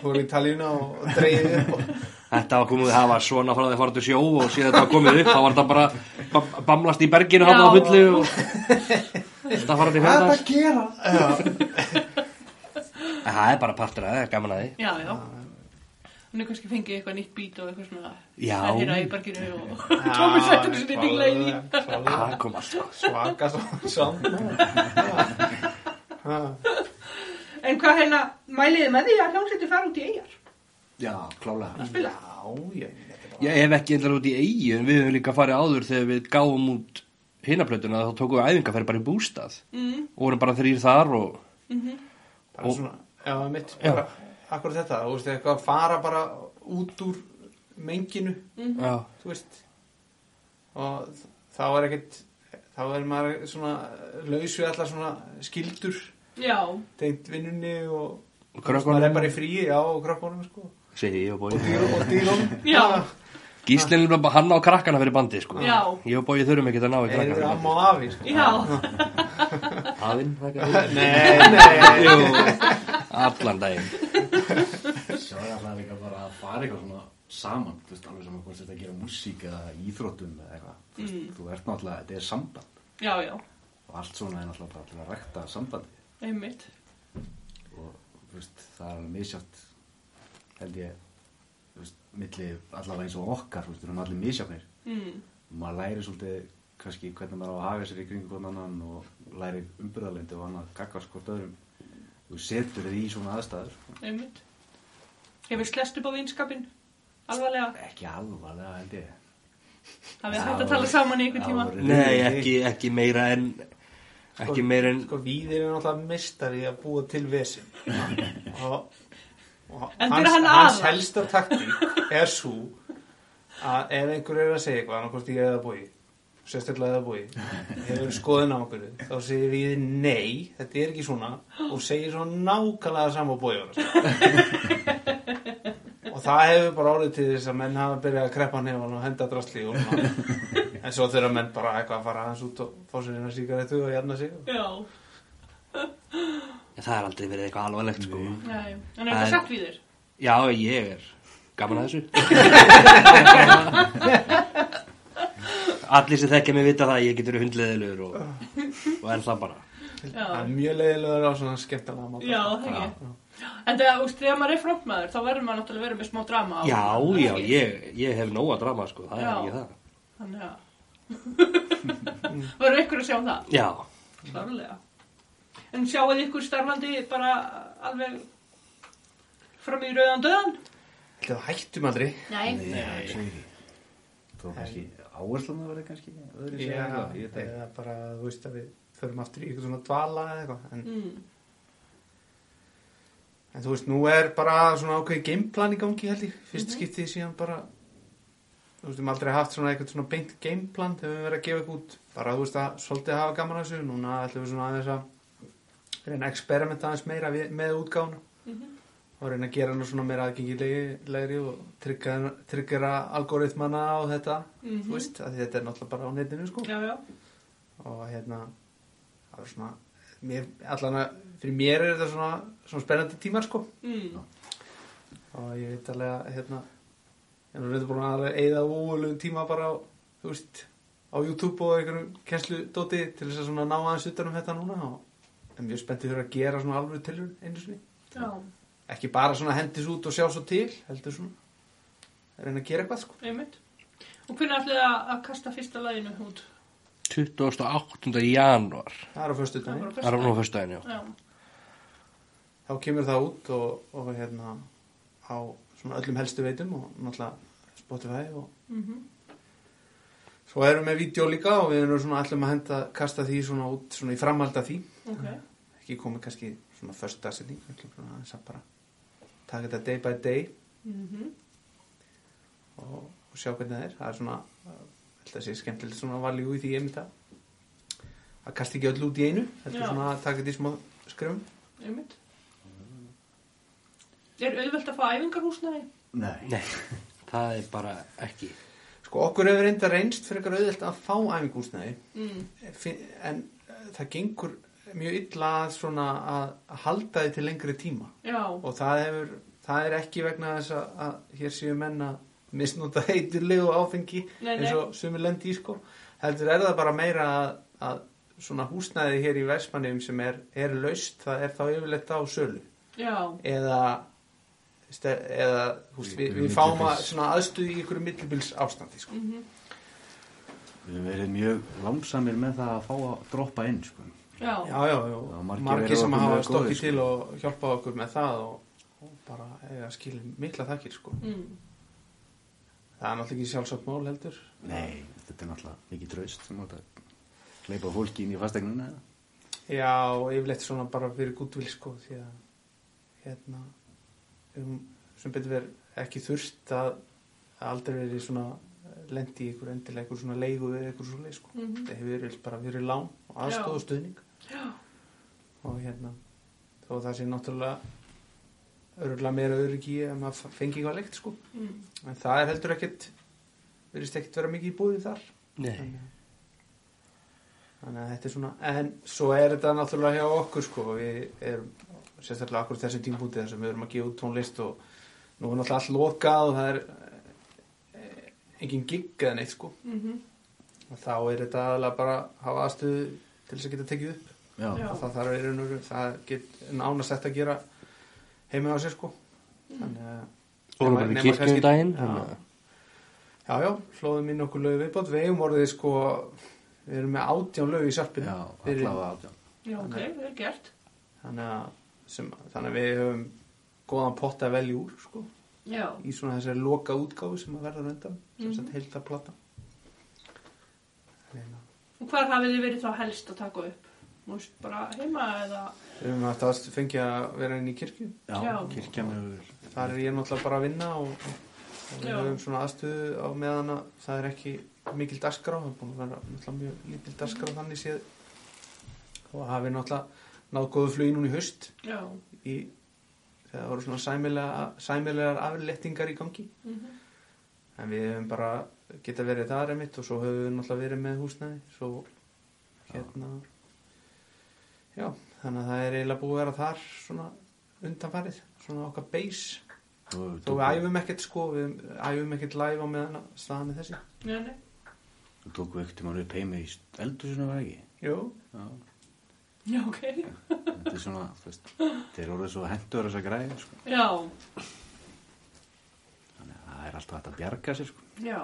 [SPEAKER 3] fór í talíuna og dreigði upp og
[SPEAKER 4] þetta var komið, það var svona frá því að fara til sjó og síðan þetta var komið upp þá var þetta bara ba- bamlast í berginu hann á
[SPEAKER 1] Já.
[SPEAKER 4] fullu og þetta fara til
[SPEAKER 2] Hvað er
[SPEAKER 4] fjöndags
[SPEAKER 2] það að gera?
[SPEAKER 4] það er bara partur að það, gaman að því
[SPEAKER 1] já, já. Hún er kannski fengið eitthvað nýtt bít og eitthvað svona...
[SPEAKER 4] Já.
[SPEAKER 1] Það hýra í barginu og Tómi settur sinni dingla í því.
[SPEAKER 3] því
[SPEAKER 4] það kom allt sko.
[SPEAKER 3] svaka samt
[SPEAKER 1] En hvað hérna, mæliði með því að hljómsveitir fara út í eigjar?
[SPEAKER 2] Já, klálega.
[SPEAKER 1] Að spila?
[SPEAKER 3] já, já, þetta er bara
[SPEAKER 4] Já, ef ekki endar út í eigi en við höfum líka farið áður þegar við gáum út hinaplötuna þá tókum við æfingarferð bara í bústað
[SPEAKER 1] Mm.
[SPEAKER 4] og vorum bara þrýr þar og
[SPEAKER 3] bara svona, já, mitt, bara akkur þetta, þú veist, eitthvað að fara bara út úr menginu
[SPEAKER 4] já,
[SPEAKER 3] þú veist og þ- þá er ekkert þá er maður svona laus við allar svona skildur
[SPEAKER 1] Já,
[SPEAKER 3] tengt vinnunni og þú
[SPEAKER 4] Og
[SPEAKER 3] veist,
[SPEAKER 4] krökkunum.
[SPEAKER 3] maður er bara í fríi, já, og krökkunum sko,
[SPEAKER 4] segi ég og bói
[SPEAKER 3] Dýr- og dýrum Ah,
[SPEAKER 1] Já.
[SPEAKER 4] Gíslinn er bara hann á krakkana fyrir bandi sko.
[SPEAKER 1] Já.
[SPEAKER 4] ég og bói þurfum ekki að ná
[SPEAKER 3] er
[SPEAKER 4] í krakkana
[SPEAKER 3] þetta
[SPEAKER 4] fyrir
[SPEAKER 3] amma
[SPEAKER 4] bandi
[SPEAKER 3] og afi sko.
[SPEAKER 1] já,
[SPEAKER 4] hafinn þakka.
[SPEAKER 3] nei, nei
[SPEAKER 4] Jú, allan daginn
[SPEAKER 2] Sjá, ég ætlaði líka bara að fara eitthvað svona saman, þú veist, alveg saman hvort þetta er að gera músík eða íþróttum eða eitthvað. Þú veist, þú ert náttúrulega, þetta er samband
[SPEAKER 1] já, já,
[SPEAKER 2] og allt svona er náttúrulega bara til að rækta sambandi
[SPEAKER 1] einmitt.
[SPEAKER 2] og þú veist, það er alveg misjátt, held ég, þú veist, milli allavega eins og okkar, þú veist, við erum allir misjáttnir.
[SPEAKER 1] Mm.
[SPEAKER 2] Maður læri svolítið kannski hvernig maður á að haga sér í kringu hvern annan og læri umbyrðarlendi og annað gagvast hvort öðrum. Þú setur þið í svona aðstæður,
[SPEAKER 1] Einmitt. Hefur slest upp á vinskapin? Alvarlega?
[SPEAKER 2] ekki alvarlega held ég.
[SPEAKER 1] Hafið þið hægt að tala saman í einhvern tíma?
[SPEAKER 2] Já,
[SPEAKER 4] nei, ekki, ekki meira en ekki meira en
[SPEAKER 3] sko víðir er náttúrulega mistari í að búa til vesin og, og
[SPEAKER 1] En
[SPEAKER 3] hans,
[SPEAKER 1] byrjar hann
[SPEAKER 3] hans
[SPEAKER 1] aðra?
[SPEAKER 3] helsta taktík er svo að ef einhver er að segja eitthvað annarkvort ég eða búi sérstaklega eða búi hefur skoðin á okkur þá segir við nei, þetta er ekki svona og segir svo nákvæmlega sama búi og það hefur bara orðið til þess að menn hafa byrjað að kreppa nefn og henda drastli í úlna en svo þurfa menn bara eitthvað að fara aðeins út og fá sér hérna síkaretu og jarna sig
[SPEAKER 1] Já,
[SPEAKER 4] En Það er aldrei verið eitthvað alvarlegt sko
[SPEAKER 1] nei, en er þetta
[SPEAKER 4] En-
[SPEAKER 1] satt við þér?
[SPEAKER 4] Já, ég er gaman að þessu Allir sem þekkja mig vita það að ég getur hundleðilegur og, og er það bara
[SPEAKER 3] það
[SPEAKER 1] Já,
[SPEAKER 3] er mjög leiðilegur á svona skemmtilega máta
[SPEAKER 1] já, það
[SPEAKER 4] Já.
[SPEAKER 1] ekki En þegar, úst, þegar maður er frontmaður þá verður maður náttúrulega verið með smá drama á
[SPEAKER 4] Já,
[SPEAKER 1] honum,
[SPEAKER 4] já,
[SPEAKER 1] ekki?
[SPEAKER 4] ég, ég hef nóga drama sko, það
[SPEAKER 1] Já.
[SPEAKER 4] er ekki það
[SPEAKER 1] Þannig að verður ykkur að sjá um það,
[SPEAKER 4] Já,
[SPEAKER 1] klárlega En sjáuð ykkur starfandi bara alveg fram í rauðan döðan?
[SPEAKER 3] Það hættum aldrei
[SPEAKER 1] Nei,
[SPEAKER 2] Nei, það var kannski áherslan að vera kannski öðru
[SPEAKER 3] Já,
[SPEAKER 2] segja eitthvað, ég veit ekki.
[SPEAKER 3] eða bara, þú veist að við förum aftur í eitthvað svona dvala eða eitthvað en,
[SPEAKER 1] Mm.
[SPEAKER 3] en þú veist, nú er bara svona ákveðið gameplan í gangi held ég fyrst skiptið síðan bara þú veist, við höfum aldrei haft svona eitthvað svona beint gameplan þegar við verðum að gefa eitthvað út bara, þú veist, að svolítið hafa gaman að þessu núna ætlum við svona aðeins að reyna að experimenta aðeins meira við, með útgáfuna og reyna að gera hana svona meira aðgengilegri og tryggera, tryggera algoritmana og þetta,
[SPEAKER 1] Mhm.
[SPEAKER 3] þú veist, að þetta er náttúrulega bara á netinu, sko
[SPEAKER 1] já, já
[SPEAKER 3] og hérna það er svona mér, allan að fyrir mér er þetta svona, svona spennandi tímar sko
[SPEAKER 1] mm.
[SPEAKER 3] og ég veit alveg að hérna ég er reyndur búin að eða óvölu tíma bara á, þú veist á YouTube og einhverjum kennsludóti til þess að svona ná aðeins utan um þetta núna og en mjög spenntið fyrir að gera svona alveg tilur einu sinni
[SPEAKER 1] Já,
[SPEAKER 3] ekki bara svona hendis út og sjá svo til heldur svona reyna að gera eitthvað sko
[SPEAKER 1] einmitt Og hvernig ætlið þið að að kasta fyrsta laginu út?
[SPEAKER 4] 28. janúar
[SPEAKER 3] það er á föstu
[SPEAKER 1] Það var á
[SPEAKER 4] Það er
[SPEAKER 1] föstudaginn.
[SPEAKER 4] nú á föstudaginn, já
[SPEAKER 1] Já,
[SPEAKER 3] þá kemur það út og, og hérna á svona öllum helstu veitum og náttúrulega Spotify og
[SPEAKER 1] mhm,
[SPEAKER 3] svo erum við með vídeo líka og við erum svona allum að henda kasta því svona út svona í framhald af því
[SPEAKER 1] ok
[SPEAKER 3] ekki komið kannski svona först dagsetning við ætlum svona aðeins að bara taka þetta day by day
[SPEAKER 1] mhm,
[SPEAKER 3] og, og sjá hvernig það er það er svona alltaf sé skemmtilegt svona valjú í því einmitt að að kasta ekki öll út í einu þetta
[SPEAKER 1] Já.
[SPEAKER 3] er svona að taka þetta í smá skrum
[SPEAKER 1] Einmitt Er auðvelt að fá æfingarhúsnaði?
[SPEAKER 2] Nei,
[SPEAKER 4] Nei, það er bara ekki
[SPEAKER 3] sko okkur hefur reynda reynst fyrir eitthvað auðvilt að fá æfingúsnæði
[SPEAKER 1] Mm.
[SPEAKER 3] Fin- en eh, það gengur mjög illa að svona að að halda þið til lengri tíma
[SPEAKER 1] Já,
[SPEAKER 3] og það hefur það er ekki vegna þess að, að hér séu menn að misnota heitilegu áfengi
[SPEAKER 1] Nei, nei.
[SPEAKER 3] eins og sumi lendi í sko heldur er það bara meira að, að svona húsnæði hér í versmanniðum sem er, er laust, það er þá yfirleitt á sölu
[SPEAKER 1] já,
[SPEAKER 3] eða veist, eða húst, við, við fáum að svona aðstuði í ykkur millibils ástandi sko.
[SPEAKER 1] Mhm.
[SPEAKER 2] við höfum verið mjög langsamir með það að fá að droppa inn, sko.
[SPEAKER 1] já, já.
[SPEAKER 3] já, já, já,
[SPEAKER 2] Já, margir
[SPEAKER 3] margir,
[SPEAKER 2] eru
[SPEAKER 3] sem
[SPEAKER 2] okkur mjög
[SPEAKER 3] hafa
[SPEAKER 2] góðir,
[SPEAKER 3] stokkið
[SPEAKER 2] sko.
[SPEAKER 3] til og hjálpað okkur með það og, og bara eða skilja mikla þakkir sko.
[SPEAKER 1] Mm.
[SPEAKER 3] það er náttúrulega ekki sjálfsagt mál heldur
[SPEAKER 2] Nei, þetta er náttúrulega mikið traust sem átt að leipa fólki inn í fastegnuna. eða?
[SPEAKER 3] já, og yfirleitt svona bara fyrir gúdvil sko, því að hérna um, sem betur verið ekki þurft að að aldrei verið svona lendi í ykkur endilega ykkur svona leigu eða ykkur svo leið sko.
[SPEAKER 1] Mhm.
[SPEAKER 3] það hefur verið bara verið lán og
[SPEAKER 1] Já.
[SPEAKER 3] aðstóð og stuðning
[SPEAKER 1] já.
[SPEAKER 3] og hérna þó það sé náttúrulega örgulega meira öryggi ef maður fengi eitthvað leikt sko
[SPEAKER 1] Mm.
[SPEAKER 3] En það er heldur ekkert verðist ekkert vera mikið í búið þar
[SPEAKER 4] Nei,
[SPEAKER 3] þannig, að- þannig að þetta er svona en svo er þetta náttúrulega hjá okkur sko, við erum sérstaklega akkur þessum tímpúti þar sem við erum að gefa út tónlist og nú er náttúrulega allt lokað og það er eh, engin gig eða neitt sko
[SPEAKER 1] mhm,
[SPEAKER 3] og þá er þetta aðalega bara að hafa aðstöðu til þess að geta tekið upp
[SPEAKER 2] Já,
[SPEAKER 1] Já.
[SPEAKER 3] og það þarf erunur, það get nánast þetta að gera heima á sér sko þannig að
[SPEAKER 4] og hún var í
[SPEAKER 3] Nema
[SPEAKER 4] kirkjum
[SPEAKER 3] kannski-
[SPEAKER 4] um daginn
[SPEAKER 3] Já.
[SPEAKER 4] þannig að-
[SPEAKER 3] Já, já, flóðum inn okkur lögu viðbót, við eigum orðið sko, við erum með átján lögu í sarpinu.
[SPEAKER 2] já allavega átján.
[SPEAKER 1] já, ok, það er gert
[SPEAKER 3] Þannig að, sem, þannig að við höfum góðan pott að velja úr, sko,
[SPEAKER 1] Já,
[SPEAKER 3] í svona þessari loka útgáfu sem að verða röndan, sem
[SPEAKER 1] Mhm.
[SPEAKER 3] mm. sagt heilta plata. Þannig að
[SPEAKER 1] og hvar hafið þið verið þá helst að taka upp? Múst bara heima eða
[SPEAKER 3] Við höfum haft að fengja að vera inn í kirkju,
[SPEAKER 2] Já,
[SPEAKER 1] Já.
[SPEAKER 2] kirkjan hefur...
[SPEAKER 3] þar er ég náttúrulega bara að vinna og, og við
[SPEAKER 1] Já.
[SPEAKER 3] höfum svona aðstöðu á meðan að það er ekki mikil dagskrá, það er búin að vera náttúrulega mjög lítil dagskrá þannig séð og hafi náttúrulega náð góðu flugin hún í haust.
[SPEAKER 1] Já,
[SPEAKER 3] í það voru svona sæmilega, sæmilegar afléttingar í gangi en við hefum bara geta verið þar einmitt og svo höfum við náttúrulega verið með húsnæði svo hérna já, þannig að það er eiginlega búið að vera þar svona undanfarið, svona okkar base þó við æfum ekkert sko við æfum ekkert live á meðan að staðan er þessi
[SPEAKER 1] Já, nei.
[SPEAKER 2] Þú tók við ekkert um að upp heimi í eldusinu var það ekki?
[SPEAKER 3] Jú,
[SPEAKER 2] Já.
[SPEAKER 1] Já, ok.
[SPEAKER 2] Þetta er svona, þú veist, þeir orðið svo hendur þess að græða, sko.
[SPEAKER 1] Já,
[SPEAKER 2] Þannig að það er alltaf hægt að bjarga sér, sko.
[SPEAKER 1] já.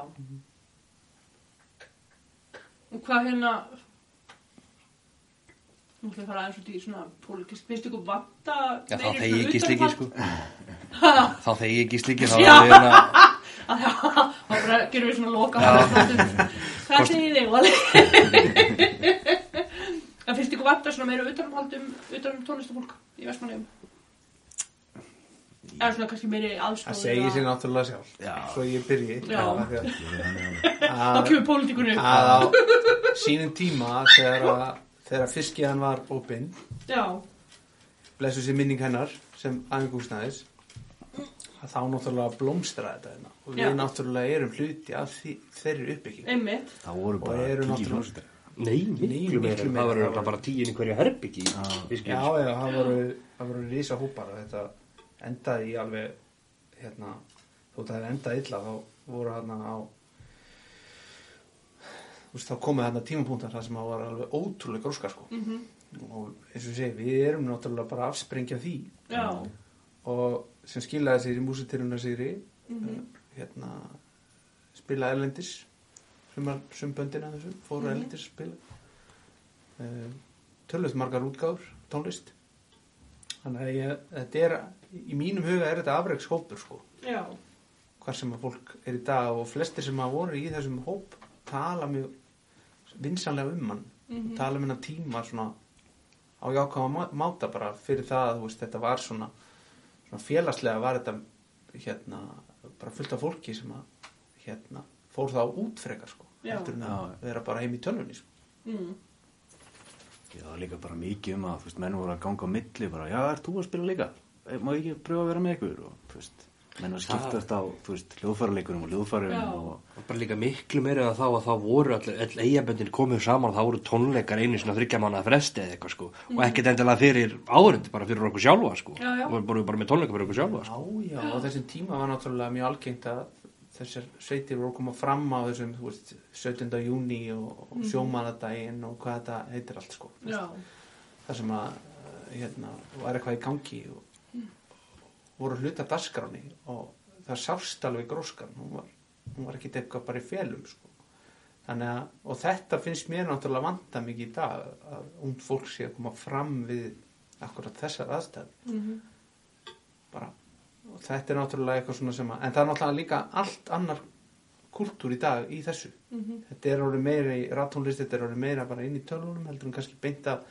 [SPEAKER 1] Og hvað hérna, nú ætlum við að fara aðeins út í svona pólitísk, finnst ykkur vanta
[SPEAKER 4] Já, þá
[SPEAKER 1] meiri svona
[SPEAKER 4] þegi ég ekki slíki,
[SPEAKER 1] utanumhald?
[SPEAKER 4] sko. þá þegi ég ekki slíki, þá
[SPEAKER 1] Já.
[SPEAKER 4] er við hérna,
[SPEAKER 1] Að Það þá bara gerum við svona loka
[SPEAKER 4] Já.
[SPEAKER 1] Hvað
[SPEAKER 4] Kosti-
[SPEAKER 1] segir þig, Vali? En finnst ykkur vanta svona meira utanumhaldum utanum tónlistafólk í Vestmanniðum? Eða svona kannski meiri aðstoð
[SPEAKER 3] það segir sér
[SPEAKER 1] eða-
[SPEAKER 3] náttúrulega sjálf
[SPEAKER 2] Já.
[SPEAKER 3] svo ég byrji
[SPEAKER 1] Já.
[SPEAKER 3] Af því að-
[SPEAKER 2] Ég er þannig að-
[SPEAKER 1] Þá
[SPEAKER 3] að-
[SPEAKER 1] kemur pólitíkunni upp
[SPEAKER 3] að á sínum tíma þegar, að, þegar fiskiðan var opinn
[SPEAKER 1] Já,
[SPEAKER 3] blessu sér minning hennar sem æfingúsnæðis að þá náttúrulega blómstra þetta hérna. og við
[SPEAKER 1] Já.
[SPEAKER 3] náttúrulega erum hluti af því, þeirri uppbygging
[SPEAKER 1] einmitt
[SPEAKER 2] Það voru
[SPEAKER 3] Og
[SPEAKER 2] bara
[SPEAKER 3] eru
[SPEAKER 2] tíu
[SPEAKER 3] náttúrulega-
[SPEAKER 2] hljómsveitir.
[SPEAKER 4] nei, miklu
[SPEAKER 3] miklu
[SPEAKER 4] meira,
[SPEAKER 3] meira.
[SPEAKER 4] það var örugglega bara tíin í hverju herbyggi,
[SPEAKER 3] Já, já, það voru, það voru rísa hópar og þetta endaði í alveg hérna, þótt að það endaði illa þá voru hérna á þú veist, þá komið hérna tímapunktar þar sem það var alveg ótrúlega gróska sko
[SPEAKER 1] mm
[SPEAKER 3] og eins og ég segi, við erum náttúrulega bara að afsprengja því
[SPEAKER 1] Já,
[SPEAKER 3] og sem skilaði sér í músitiruna sigri
[SPEAKER 1] mm
[SPEAKER 3] hérna spila erlendis sumar, sumböndina þessu, fóru
[SPEAKER 1] Mhm.
[SPEAKER 3] erlendis að spila uh, tölvöld margar útgáður tónlist þannig að ég, þetta er í mínum huga er þetta afreikshópur sko
[SPEAKER 1] já,
[SPEAKER 3] hvar sem að fólk er í dag og flestir sem að voru í þessum hóp tala mjög vinsanlega um hann
[SPEAKER 1] Mhm.
[SPEAKER 4] Mm.
[SPEAKER 3] tala um hennar tíma svona á jákvæma má- máta bara fyrir það að þú veist, þetta var svona, svona félagslega var þetta hérna, bara fullt af fólki sem að hérna, fór það út frekar sko,
[SPEAKER 1] Já.
[SPEAKER 3] heldur en
[SPEAKER 2] Já.
[SPEAKER 3] að vera bara heim í tölvunni sko.
[SPEAKER 1] mm.
[SPEAKER 2] Já, það var líka bara mikið um að, þú veist, menn voru að ganga á milli bara, já, ert þú að spila líka? Eh, Má ég ekki pröfa að vera með ykkur? Og, þú veist, menn var skiptast á, þú veist, hljóðfæraleikurum og
[SPEAKER 1] Já.
[SPEAKER 2] hljóðfærum og
[SPEAKER 4] Og bara líka miklu meira en þá að þá voru all, all eigaböndin komið saman þá voru tónleikar einu svona þryggja manna fresti eða eitthvað sko og ekkert endilega fyrir áðurundi bara fyrir okkur sjálfa sko
[SPEAKER 1] Mhm. Já, já.
[SPEAKER 4] og við vorum bara með tónleika fyrir okkur sjálfa sko.
[SPEAKER 3] Já, já, á þessum tíma var náttúrulega mjög algengt að þessar sveitir voru að koma fram á þessum, þú veist, 17. júni og mm. sjómanadaginn og hvað þetta heitir allt, sko.
[SPEAKER 1] Mhm. já,
[SPEAKER 3] Það sem að, eh, hérna, var eitthvað í gangi og voru hluta dasgráni og það sást alveg gróskan, hún var, hún var ekki eitthvað bara í félum, sko. Þannig að, og þetta finnst mér náttúrulega vanda mikið í dag, að ungd fólk sé að koma fram við akkurat þessar aðstæður
[SPEAKER 1] mm.
[SPEAKER 3] bara, og þetta er náttúrulega eitthvað svona sem að, en það er náttúrulega líka allt annar kultúr í dag í þessu
[SPEAKER 1] Mhm.
[SPEAKER 3] þetta er orðið meira í rattónlist þetta er orðið meira bara inn í tölunum heldur en kannski beint að,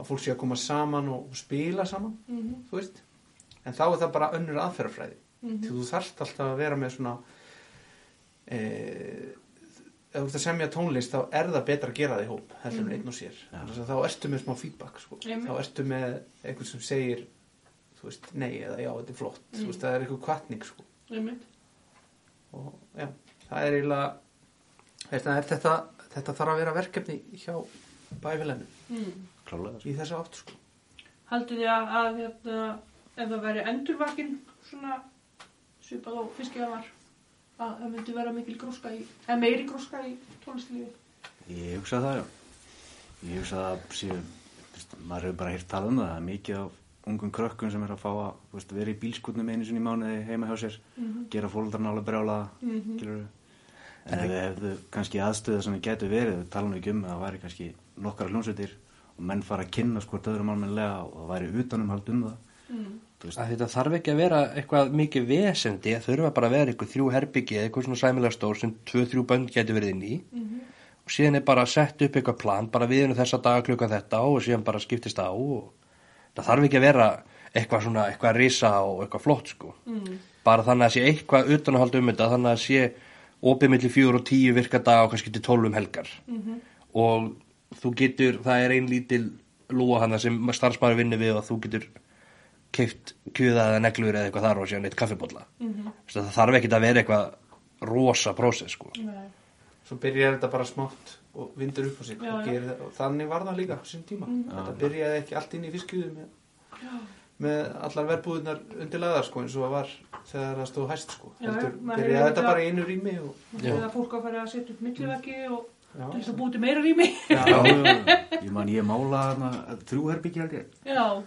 [SPEAKER 3] að fólk sé að koma saman og, og spila saman
[SPEAKER 1] Mhm.
[SPEAKER 3] þú veist, en þá er það bara önnur aðferðafræði,
[SPEAKER 1] Mhm.
[SPEAKER 3] því þú þarft alltaf að vera með svona e, ef þú ert að semja tónlist þá er það betra að gera það í hóp heldur en einn og sér,
[SPEAKER 2] Já.
[SPEAKER 3] Þannig að þá ertu með smá feedback sko.
[SPEAKER 1] Mhm. Einmitt.
[SPEAKER 3] þá ertu með einhvern sem segir þú veist, nei eða já, þetta er flott
[SPEAKER 1] Mm.
[SPEAKER 3] þú veist, það er eitthvað kvartning sko.
[SPEAKER 1] einmitt
[SPEAKER 3] og já, það er eiginlega þetta, er þetta, þetta þarf að vera verkefni hjá bæfélaginu
[SPEAKER 1] mm.
[SPEAKER 2] klálega, sko.
[SPEAKER 3] í þessu átt sko.
[SPEAKER 1] Haldið þið að, að hérna, ef það væri endurvakin svona svipað og fiskiða var að það myndi vera mikil gróska í eða meiri gróska í tónlistlífi
[SPEAKER 2] Ég hugsa það, já. Ég hugsa það að séu, þú veist, maður hefur bara heyrt talað um það, það er mikið af ungum krökkum sem er að fá að þú veist, vera í bílskutnum einu sinni í mánuði heima hjá sér,
[SPEAKER 1] Mhm.
[SPEAKER 2] gera fólkarna alveg brjála, mm -hmm. En ef við hefðu kannski aðstöða sem við gætu verið, við talum ekki um að það væri kannski nokkara hljónsveitir og menn fara að kynna skort öðrum almennilega og það væri utanumhald um það.
[SPEAKER 1] mm.
[SPEAKER 2] Þú veist,
[SPEAKER 4] að þetta þarf ekki að vera eitthvað mikið vesendi þurfa bara að vera eitthvað þrjú herbyggi eða eitthvað svona sæmilega stór sem tvö-þrjú bönd getur verið inn í
[SPEAKER 1] Mhm.
[SPEAKER 4] og síðan er bara sett upp eitthvað plan bara við erum þessa daga klukkan þetta og síðan bara skiptist á og það þarf ekki að vera eitthvað svona eitthvað risa og eitthvað flott sko
[SPEAKER 1] Mm.
[SPEAKER 4] bara þannig að sé eitthvað utanahald um þetta þannig að sé opið milli fjör og tíu virka dag og kannski til tólum helgar -hmm. og þú getur, það er ein lítil lúa hana sem starfsmaður vinnur við og þú getur keift kjöða eða neglur eða eitthvað þar og síðan eitt kaffibólla mm það þarf ekkit að vera eitthvað rosa prósess sko.
[SPEAKER 1] Nei.
[SPEAKER 3] svo byrjar þetta bara smátt og vindur upp á sig
[SPEAKER 1] Já, Mhm. já.
[SPEAKER 3] og, gerir, það- og þannig var það líka á sín tíma þetta byrjaði ekki allt inn í fiskjuðu með, með allar verbúðunar undirlaðar sko eins og það var þegar það stóð hæst sko
[SPEAKER 1] Já, já,
[SPEAKER 3] heldur
[SPEAKER 1] maður
[SPEAKER 3] byrjaði
[SPEAKER 1] hefur
[SPEAKER 3] þetta
[SPEAKER 1] þetta-
[SPEAKER 3] bara í einu rými og,
[SPEAKER 4] Já.
[SPEAKER 1] Þegar fólk að fara að setja upp milliveggi og
[SPEAKER 3] já,
[SPEAKER 1] til þess að búið til meira rými.
[SPEAKER 3] já,
[SPEAKER 2] Já, já, ég man ég mála hana þrjúherbyggja held ég.
[SPEAKER 1] Já,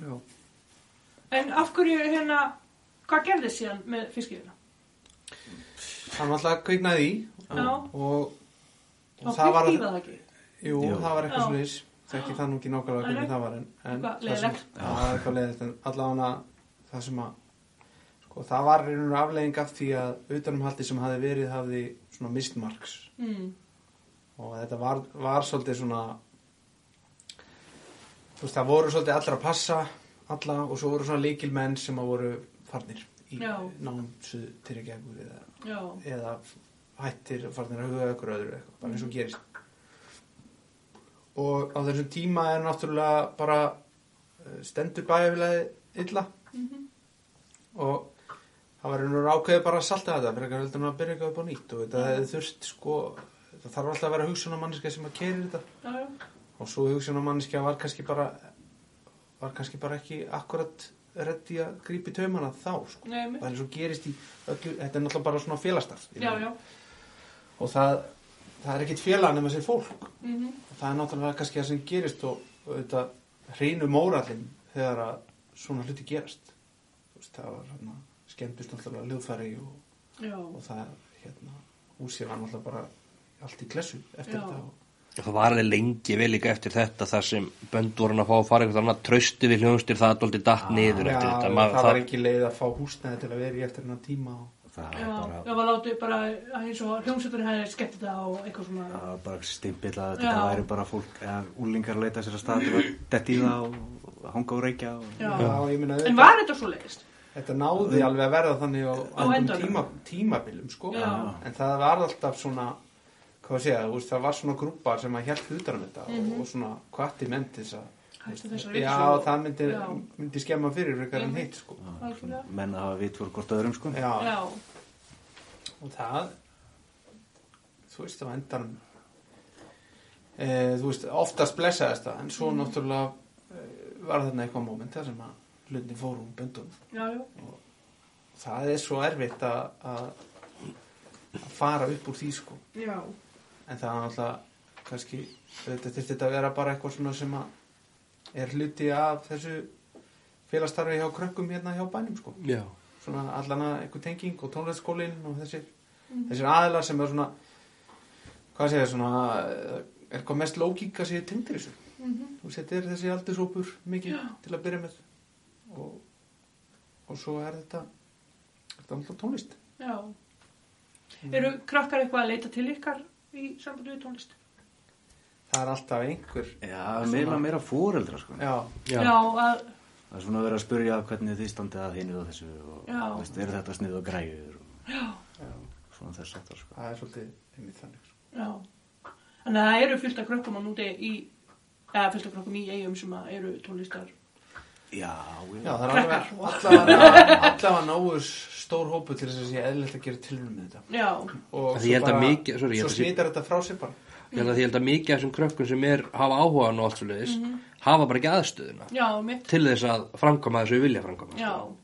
[SPEAKER 3] já.
[SPEAKER 1] en af hverju hérna, hvað gerðist síðan með fiskiðina?
[SPEAKER 3] hann alltaf kviknaði í
[SPEAKER 1] Já,
[SPEAKER 3] og,
[SPEAKER 1] þá
[SPEAKER 3] og það var
[SPEAKER 1] fyrir lífa það ekki.
[SPEAKER 3] Jú,
[SPEAKER 2] Jú.
[SPEAKER 3] það var eitthvað
[SPEAKER 1] Já.
[SPEAKER 3] svona ís Þekki það nú ekki nákvæmlega hvernig
[SPEAKER 1] Nei.
[SPEAKER 3] það var en, en
[SPEAKER 1] Eitthvað
[SPEAKER 3] það sem-
[SPEAKER 1] leiðinlegt.
[SPEAKER 3] Já, það var eitthvað leiðilegt en allavega það sem að sko, það var einhverjum afleiðing af því að utanumhaldi sem hafði verið hafði svona mistmarks
[SPEAKER 1] Mm.
[SPEAKER 3] og þetta var, var svolítið svona þú veist, það voru svolítið allra að passa alla og svo voru svona líkilmenn sem að voru farnir í
[SPEAKER 1] Já.
[SPEAKER 3] nám suð til ekki ekkur eða,
[SPEAKER 1] Já,
[SPEAKER 3] eða hættir og farnir að huga ykkur öðru eitthvað, bara eins og gerist og á þessum tíma er náttúrulega bara eh, stendur bæjarfélagi illa
[SPEAKER 1] Mhm.
[SPEAKER 3] og það var einhver ákveðið bara að salta þetta fyrir heldur en að byrja eitthvað upp á nýtt og þetta hefði þurft sko það þarf alltaf að vera hugsunamanniska sem að keiri þetta
[SPEAKER 1] já, já.
[SPEAKER 3] og svo hugsunamanniska var kannski bara var kannski bara ekki akkurat reddi að grípi taumana þá sko.
[SPEAKER 1] Nei,
[SPEAKER 3] það
[SPEAKER 1] einmitt.
[SPEAKER 3] er eins og gerist í öllu, þetta er náttúrulega bara svona félastarf
[SPEAKER 1] já, já.
[SPEAKER 3] og það, það er ekkit félag nema sér fólk
[SPEAKER 1] Mm
[SPEAKER 3] og það er náttúrulega kannski það sem gerist og, og þetta hreinu mórallin þegar að svona hluti gerast Þú veist, það var hérna skemmtist náttúrulega hljóðfæri og,
[SPEAKER 1] Já,
[SPEAKER 3] og það hérna húsið var náttúrulega bara allt í klessu eftir
[SPEAKER 1] Já.
[SPEAKER 3] þetta
[SPEAKER 4] Og það var alveg lengi vel líka eftir þetta þar sem bönd voru að fá að fara eitthvað annað trausti við hljónstir það doldi datt
[SPEAKER 3] Ah, Já,
[SPEAKER 4] niður eftir þetta
[SPEAKER 3] það,
[SPEAKER 4] Maður-
[SPEAKER 3] var ekki leið að fá húsnæði til að vera í eftir hennar tíma og,
[SPEAKER 2] Það
[SPEAKER 1] já,
[SPEAKER 2] er bara,
[SPEAKER 1] já, var látið bara að eins og hljómsveiturinn hefði skemmt þetta og eitthvað svona.
[SPEAKER 2] það var bara stimpil að
[SPEAKER 1] Já.
[SPEAKER 2] þetta væri bara fólk, eða úlingar leita sér að stað til að detti í það og hanga og reykja og...
[SPEAKER 1] Já.
[SPEAKER 3] já, ég meina
[SPEAKER 1] En
[SPEAKER 3] þetta,
[SPEAKER 1] var þetta svo leiðist?
[SPEAKER 3] þetta náði alveg að verða þannig á,
[SPEAKER 1] Á
[SPEAKER 3] einhverjum
[SPEAKER 1] endanum.
[SPEAKER 3] tíma, tímabilum sko
[SPEAKER 1] Já.
[SPEAKER 3] en það var alltaf svona hvað að segja, þú veist, það var svona grúpa sem að hjælt utan um þetta
[SPEAKER 1] Mhm.
[SPEAKER 3] og, og svona hvati menn til þess að
[SPEAKER 1] Hættu þessari
[SPEAKER 3] já,
[SPEAKER 1] ríkisstjórn.
[SPEAKER 3] það myndi,
[SPEAKER 1] Já.
[SPEAKER 3] myndi skemma fyrir frekar en hitt sko
[SPEAKER 2] Já,
[SPEAKER 1] Algjörlega.
[SPEAKER 2] svona menn að hafa vit fyrir hvort öðrum sko.
[SPEAKER 3] já,
[SPEAKER 1] Já,
[SPEAKER 3] og það þú veist, það var endan e, þú veist, oftast blessaðist það en
[SPEAKER 1] Mhm.
[SPEAKER 3] svo náttúrulega e, var þarna eitthvað moment þar sem að hlutin fóru um böndum
[SPEAKER 1] já, já.
[SPEAKER 3] það er svo erfitt að, að að fara upp úr því sko
[SPEAKER 1] Já,
[SPEAKER 3] en það er náttúrulega kannski þetta þurfti þetta að vera bara eitthvað svona sem að er hluti af þessu félastarfi hjá krökkum hérna hjá bænum sko
[SPEAKER 4] Já.
[SPEAKER 3] svona allana einhver tenging og tónleikskólin og þessir, þessir aðilar sem er svona hvað segja svona eh, er hvað mest lógík að segja tengdur þessu þú settir þessi aldurshópur mikið til að byrja með og, og svo er þetta þetta er alltaf tónlist
[SPEAKER 1] já.
[SPEAKER 3] Mm.
[SPEAKER 1] Eru krakkar eitthvað að leita til ykkar í sambandi við tónlist?
[SPEAKER 3] það er alltaf einhver
[SPEAKER 2] Já, meira meira fóreldra sko.
[SPEAKER 3] já,
[SPEAKER 4] Já.
[SPEAKER 1] að,
[SPEAKER 2] Það er svona að vera að spurja hvernig þið standið að hinu og þessu og
[SPEAKER 1] Já.
[SPEAKER 2] veist, er þetta snið og græður og
[SPEAKER 3] já,
[SPEAKER 2] svona þess aftar sko.
[SPEAKER 3] það er svolítið einmitt þannig sko.
[SPEAKER 1] já. Þannig að það eru fullt af krökkum á núti í, eða fullt af krökkum í eigum sem að eru tónlistar.
[SPEAKER 2] Já,
[SPEAKER 3] Já,
[SPEAKER 2] já.
[SPEAKER 3] það er alveg allavega allavega nógu stór hópu til þess að sé eðlilegt að gera tilhörnum með þetta.
[SPEAKER 1] Já,
[SPEAKER 3] Og
[SPEAKER 4] Það
[SPEAKER 3] svo
[SPEAKER 4] ég held að
[SPEAKER 3] bara,
[SPEAKER 4] mikið- sorry, ég
[SPEAKER 3] svo
[SPEAKER 4] held að sé-
[SPEAKER 3] smitar þetta frá sér bara.
[SPEAKER 4] Ég held að, ég held að mikið af þessum krökkum sem er hafa áhugaðan og allt svo leiðis hafa bara ekki aðstöðuna
[SPEAKER 1] Mhm. já, mitt,
[SPEAKER 4] til þess að framkoma þessu vilja framkoma
[SPEAKER 1] já,
[SPEAKER 4] sko.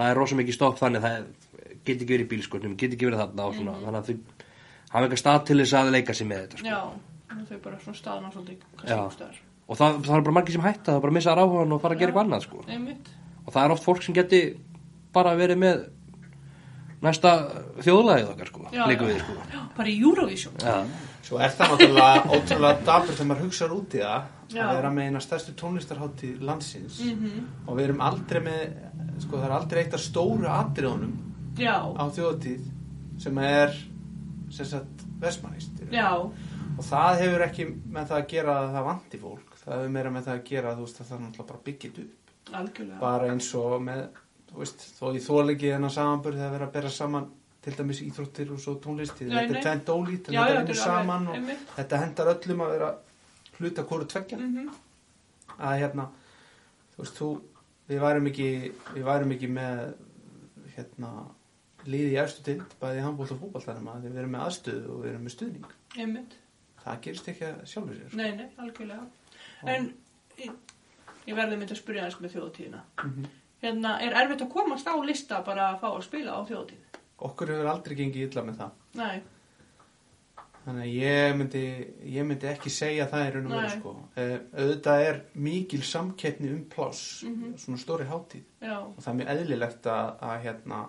[SPEAKER 4] Það er rosa mikið stopp þannig það get ekki verið í bílskotnum, get ekki verið þarna og svona þannig að þau hafa eitthvað stað til þess að leika sér með þetta sko.
[SPEAKER 1] Mhm. já. Þannig að Þau bara svona staðna svolítið, kannski
[SPEAKER 4] Já.
[SPEAKER 1] einhvers staðar.
[SPEAKER 4] og það, það er bara margir sem hætta það bara missa áhugaðan og fara að gera eitthvað annað sko.
[SPEAKER 1] Nei, mitt,
[SPEAKER 4] og það er oft fólk sem geti bara verið með næsta þjóðlagið okkar sko,
[SPEAKER 1] Já,
[SPEAKER 4] líka
[SPEAKER 1] já.
[SPEAKER 4] við sko.
[SPEAKER 1] já, bara í Eurovision.
[SPEAKER 4] Já,
[SPEAKER 3] Svo er það náttúrulega ótrúlega dapur þegar maður hugsar út í það
[SPEAKER 1] Já. Mhm.
[SPEAKER 3] að vera með eina stærstu tónlistarhátti landsins og við erum aldrei með, sko það er aldrei eitt af stóru atriðunum
[SPEAKER 1] Já,
[SPEAKER 3] á þjóðatíð sem er sem sagt vestmannist.
[SPEAKER 1] já,
[SPEAKER 3] Og það hefur ekki með það að gera að það vanti fólk, það hefur meira með það að gera að þú veist að það er náttúrulega bara byggjit upp.
[SPEAKER 1] algjörlega.
[SPEAKER 3] bara eins og með þú veist, þó ég þól ekki þennan samanburð þegar vera að bera saman til dæmis íþróttir og svo tónlisti,
[SPEAKER 1] Nei,
[SPEAKER 3] þetta
[SPEAKER 1] nei.
[SPEAKER 3] er tvent ólít en
[SPEAKER 1] Já, já, þetta
[SPEAKER 3] þetta
[SPEAKER 1] er
[SPEAKER 3] vinnur
[SPEAKER 1] alveg-
[SPEAKER 3] saman og
[SPEAKER 1] einmitt.
[SPEAKER 3] þetta hendar öllum að vera hluta hvoru tveggja
[SPEAKER 1] Mhm.
[SPEAKER 3] að hérna, þú veist, þú við værum ekki, við værum ekki með hérna, liði í efstu tild bæði handbólt og fótbolt þar maður við erum með aðstöðu og við erum með stuðning
[SPEAKER 1] einmitt,
[SPEAKER 3] það gerist ekki að sjálfur sér
[SPEAKER 1] nei, nei, algjörlega en ég, ég verði myndi að spyrja aðeins með þjóðatíðina
[SPEAKER 3] Mhm.
[SPEAKER 1] hérna, er erfitt að komast á lista bara að fá að spila á þjóðatíð
[SPEAKER 3] okkur hefur aldrei gengið illa með það
[SPEAKER 1] nei,
[SPEAKER 3] þannig að ég myndi, ég myndi ekki segja það í raun og veru
[SPEAKER 1] Nei.
[SPEAKER 3] sko. Eh, auðvitað er mikil samkeppni um pláss
[SPEAKER 1] Mhm.
[SPEAKER 3] svona stóri hátíð
[SPEAKER 1] já,
[SPEAKER 3] og það er mjög eðlilegt að, að hérna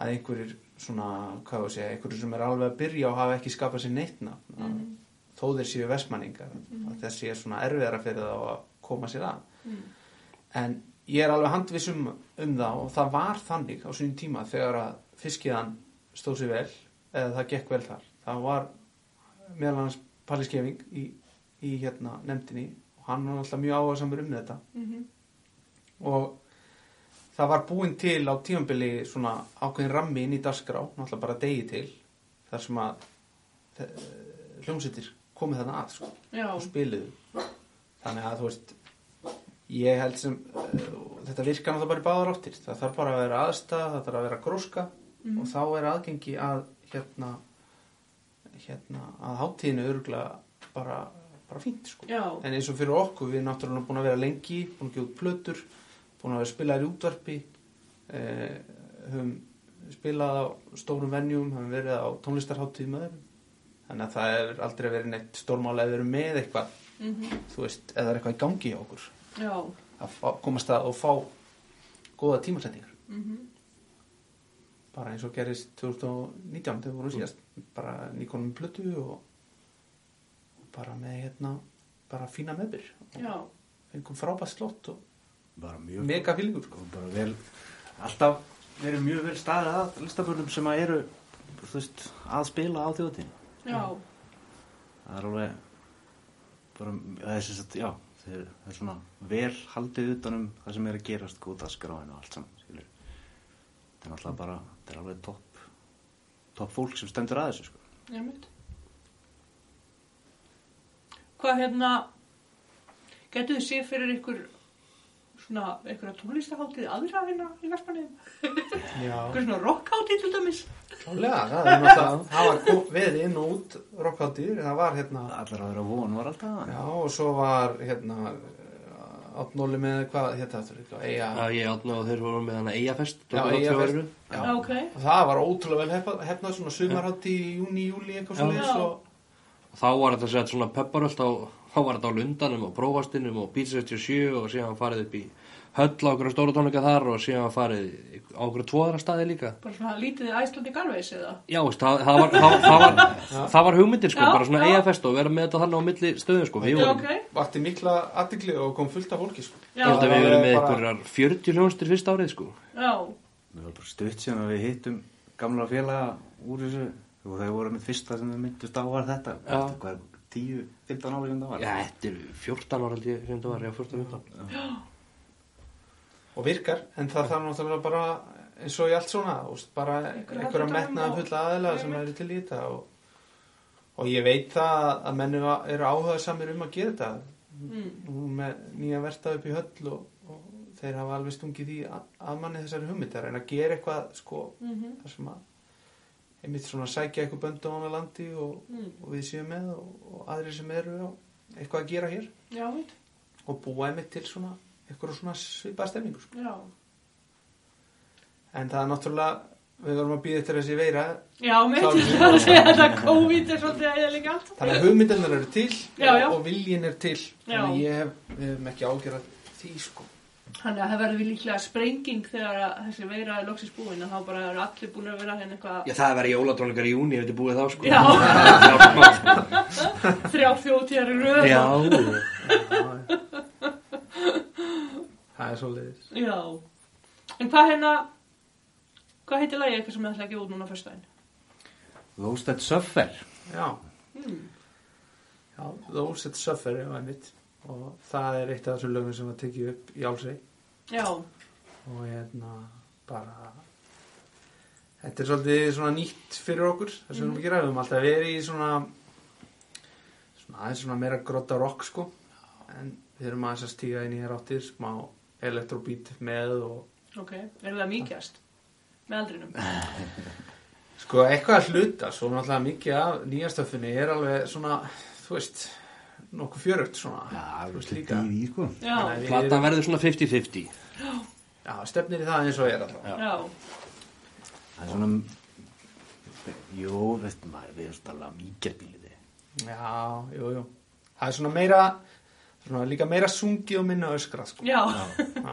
[SPEAKER 3] að einhverjir svona, hvað þú segja, einhverjir sem er alveg að byrja og hafa ekki skapað sér neitt nafn mm
[SPEAKER 1] Mhm.
[SPEAKER 3] þó þeir séu vestmanningar að þessi er svona erfiðara fyrir þá að koma sér að
[SPEAKER 1] Mm.
[SPEAKER 3] en ég er alveg handviss um, um það og það var þannig á sínum tíma þegar að fiskiðan stóð sér vel eða það gekk vel þar það var meðal hans Palli Skeving í, í hérna nefndinni og hann var alltaf mjög áhersamur um þetta
[SPEAKER 1] mhm,
[SPEAKER 3] og það var búin til á tímanbili svona ákveðin rammi inn í dagskrá, náttúrulega bara degi til þar sem að eh, hljómsveitir komið þarna að sko,
[SPEAKER 1] já
[SPEAKER 3] og spiluðu þannig að þú veist ég held sem eh, þetta virkar náttúrulega bara í báðar áttir það þarf bara að vera aðstæða, það þarf að vera gróska og þá er aðgengi að hérna, hérna að hátíðinu örgulega bara, bara fínt sko
[SPEAKER 1] já,
[SPEAKER 3] En eins og fyrir okkur, við erum náttúrulega búin að vera lengi, búin að gefa út plötur, búin að vera spilaðir í útvarpi, eh, höfum spilað á stórum venjum, höfum verið á tónlistarháttíð með þeim. Þannig að það er aldrei verið neitt stórmála ef við erum með eitthvað,
[SPEAKER 1] mhm,
[SPEAKER 3] þú veist, eða það er eitthvað í gangi hjá okkur.
[SPEAKER 1] já
[SPEAKER 3] Að fá, komast að og fá góða tímasendingar.
[SPEAKER 1] mhm,
[SPEAKER 3] Bara eins og gerist 2019, þegar við vorum síðast, bara nýkonum með plötu og, og bara með hérna, bara fína meðbyr.
[SPEAKER 1] já,
[SPEAKER 3] Fengum frábært slott og
[SPEAKER 2] bara mjög
[SPEAKER 3] mega fylgur sko.
[SPEAKER 2] og bara vel alltaf verið mjög vel staðið að listabörnum sem að eru þú veist, að spila á þjóðtíðin
[SPEAKER 1] já
[SPEAKER 2] það er alveg bara, það er sem sagt, já það er, það er svona vel haldið utanum það sem er að gerast góð dagskráin og allt saman skilur það er alltaf bara, það er alveg topp topp fólk sem stendur að þessu sko.
[SPEAKER 1] Einmitt. Hvað hérna getur þið séð fyrir ykkur svona einhverja tónlistaháttíð aðra hérna í Vestmanniðum?
[SPEAKER 3] Já,
[SPEAKER 1] Einhver svona rockháttíð til dæmis?
[SPEAKER 3] klálega, það er náttúrulega, það var kom- verið inn og út rockháttíður, það var hérna,
[SPEAKER 2] allar að vera von var alltaf að
[SPEAKER 3] já og svo var hérna, átnóli með hvað, hérna þetta er eitthvað, eiga,
[SPEAKER 4] að ég átna og þeir voru með hana Eyjafest
[SPEAKER 3] Já,
[SPEAKER 4] og
[SPEAKER 3] Eyjafest.
[SPEAKER 4] tvö eru.
[SPEAKER 3] já,
[SPEAKER 1] Já, ok.
[SPEAKER 3] og það var ótrúlega vel hefna, hefnað svona sumarháttíð í júni, júli, eitthvað
[SPEAKER 4] Já.
[SPEAKER 3] svona
[SPEAKER 1] Já.
[SPEAKER 3] og
[SPEAKER 4] þá var þetta sett svona pepparöld á, þá var þetta á lundanum og prófastinum og Beat 67 og síðan farið upp í höll á okkur stóra tónleika þar og síðan farið í- á okkur tvoðara staði líka
[SPEAKER 1] Bara svona lítið Icelandic Airways eða?
[SPEAKER 4] Já, veist, það, það, var, það, það, var, það var hugmyndir sko,
[SPEAKER 1] Já,
[SPEAKER 4] bara svona
[SPEAKER 1] já.
[SPEAKER 4] EFS og vera með þetta þannig á milli stöðum sko, við
[SPEAKER 1] Já,
[SPEAKER 4] vorum,
[SPEAKER 1] ok.
[SPEAKER 3] vakti mikla aðdegli og kom fullt af fólki sko.
[SPEAKER 1] Já,
[SPEAKER 4] ég held að við
[SPEAKER 3] Það
[SPEAKER 4] verum með
[SPEAKER 3] var bara-
[SPEAKER 4] einhverjar 40 hljónstir fyrsta árið sko
[SPEAKER 1] Já,
[SPEAKER 2] það var bara stutt síðan að við hittum gamla félaga úr þessu og þau voru með fyrsta sem þau myndust á var þetta
[SPEAKER 4] Já.
[SPEAKER 2] hvað er 10, 15 ári sem það var
[SPEAKER 4] Já, þetta er 14 ára held ég sem þetta var, já, 14 ára
[SPEAKER 3] og virkar, en það þarf náttúrulega bara eins og í allt svona, úst, bara
[SPEAKER 1] Einhverja
[SPEAKER 3] einhverja
[SPEAKER 1] heldur dæmi
[SPEAKER 3] metnaða
[SPEAKER 1] og-
[SPEAKER 3] fulla aðila sem
[SPEAKER 1] Einmitt.
[SPEAKER 3] eru til í þetta og, og ég veit það að mennu eru áhugað samir um að gera þetta
[SPEAKER 1] mm.
[SPEAKER 3] nú erum við með nýja verstað upp í höll og, og þeir hafa alveg stungið í að, að manni þessari hugmyndar en að gera eitthvað sko
[SPEAKER 1] Mhm.
[SPEAKER 3] þar sem að einmitt svona sækja eitthvað böndu á hana landi og,
[SPEAKER 1] Mm.
[SPEAKER 3] og við séum með og, og aðrir sem eru á eitthvað að gera hér
[SPEAKER 1] já, veit.
[SPEAKER 3] og búa einmitt til svona eitthvað svona svipaða stemningu sko.
[SPEAKER 1] Já.
[SPEAKER 3] En það er náttúrulega, við vorum að býða eftir þessi veira,
[SPEAKER 1] Já, mitt,
[SPEAKER 3] Klárlega.
[SPEAKER 1] ég ætla að segja þetta COVID er svolítið að ég líka allt.
[SPEAKER 3] þannig að hugmyndirnar eru til
[SPEAKER 1] Já, já.
[SPEAKER 3] og viljin er til. Þannig að
[SPEAKER 1] Já.
[SPEAKER 3] ég hef, við hefum ekki ágjörð því, sko.
[SPEAKER 1] Þannig að það verður við líklega sprenging þegar að þessi veira er loksins búin að þá bara eru allir búin að vera henni eitthvað
[SPEAKER 4] Já, það verið jólatónleikar í júni ef þetta er búið þá sko
[SPEAKER 1] Já.
[SPEAKER 4] Já,
[SPEAKER 1] þrjá þjóðtíðar í röð
[SPEAKER 4] já,
[SPEAKER 3] Það er svo leiðis.
[SPEAKER 1] Já. En hvað hérna hvað heitir lagið eitthvað sem þið ætla að gefa út núna á föstudaginn?
[SPEAKER 2] Those that suffer
[SPEAKER 3] Já,
[SPEAKER 1] Mm.
[SPEAKER 3] já, Those That Suffer, já, einmitt. Og það er eitt af þessu lögum sem að tekið upp í álsvei.
[SPEAKER 1] Já,
[SPEAKER 3] Og hérna, bara, þetta er svolítið svona nýtt fyrir okkur, það sem við erum að gera. Við höfum alltaf verið í svona, svona aðeins svona meira grotta rock, sko. En við erum aðeins að stíga inn í hér áttir, smá elektrobeat með og
[SPEAKER 1] Ok, er það mýkjast? Með aldrinum?
[SPEAKER 3] Sko, eitthvað að hluta, svo náttúrulega mikið af nýjastöfinni er alveg svona, þú veist, nokkuð fjörugt svona.
[SPEAKER 2] Já,
[SPEAKER 3] þú veist
[SPEAKER 2] svolítið
[SPEAKER 3] líka.
[SPEAKER 2] dýr í sko
[SPEAKER 1] Já,
[SPEAKER 3] Nei, við
[SPEAKER 4] Platan
[SPEAKER 3] erum-
[SPEAKER 4] verður svona 50-50
[SPEAKER 3] Já, stefnir í það eins og er alltaf.
[SPEAKER 1] já,
[SPEAKER 2] Það er svona Jó, veist maður, við erum talað um íkjarbíliði
[SPEAKER 3] Já, jú, jú. Það er svona meira, svona líka meira sungið og minna öskrað, sko.
[SPEAKER 1] já,
[SPEAKER 3] Já.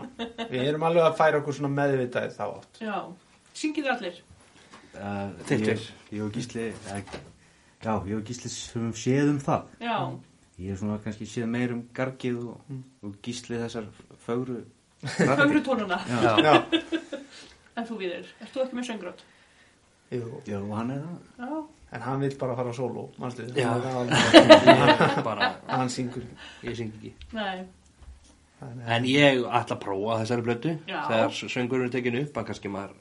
[SPEAKER 3] Við erum alveg að færa okkur svona meðvitaðið þá átt.
[SPEAKER 1] já. Syngið allir?
[SPEAKER 4] Þitt
[SPEAKER 2] Þetta
[SPEAKER 4] er.
[SPEAKER 2] Eh, Ég og Gísli eh, Já, ég og Gísli höfum séð um það
[SPEAKER 1] Já,
[SPEAKER 2] Ég hef svona kannski séð meir um gargið og, og Gísli þessar fögru
[SPEAKER 1] höfru tónuna.
[SPEAKER 2] Já,
[SPEAKER 3] Já,
[SPEAKER 1] En þú viðir, ert þú ekki með söngrótt?
[SPEAKER 3] jú.
[SPEAKER 2] já, og hann er það
[SPEAKER 1] Já,
[SPEAKER 3] En hann vil bara fara á sóló, mannstu.
[SPEAKER 4] Já. Ég bara,
[SPEAKER 3] Hann syngur. ekki.
[SPEAKER 4] ég syng ekki
[SPEAKER 1] nei,
[SPEAKER 3] Þannig að-
[SPEAKER 4] En ég ætla að prófa þessari blötu
[SPEAKER 1] Já.
[SPEAKER 4] Þegar söngurinn er tekin upp að kannski maður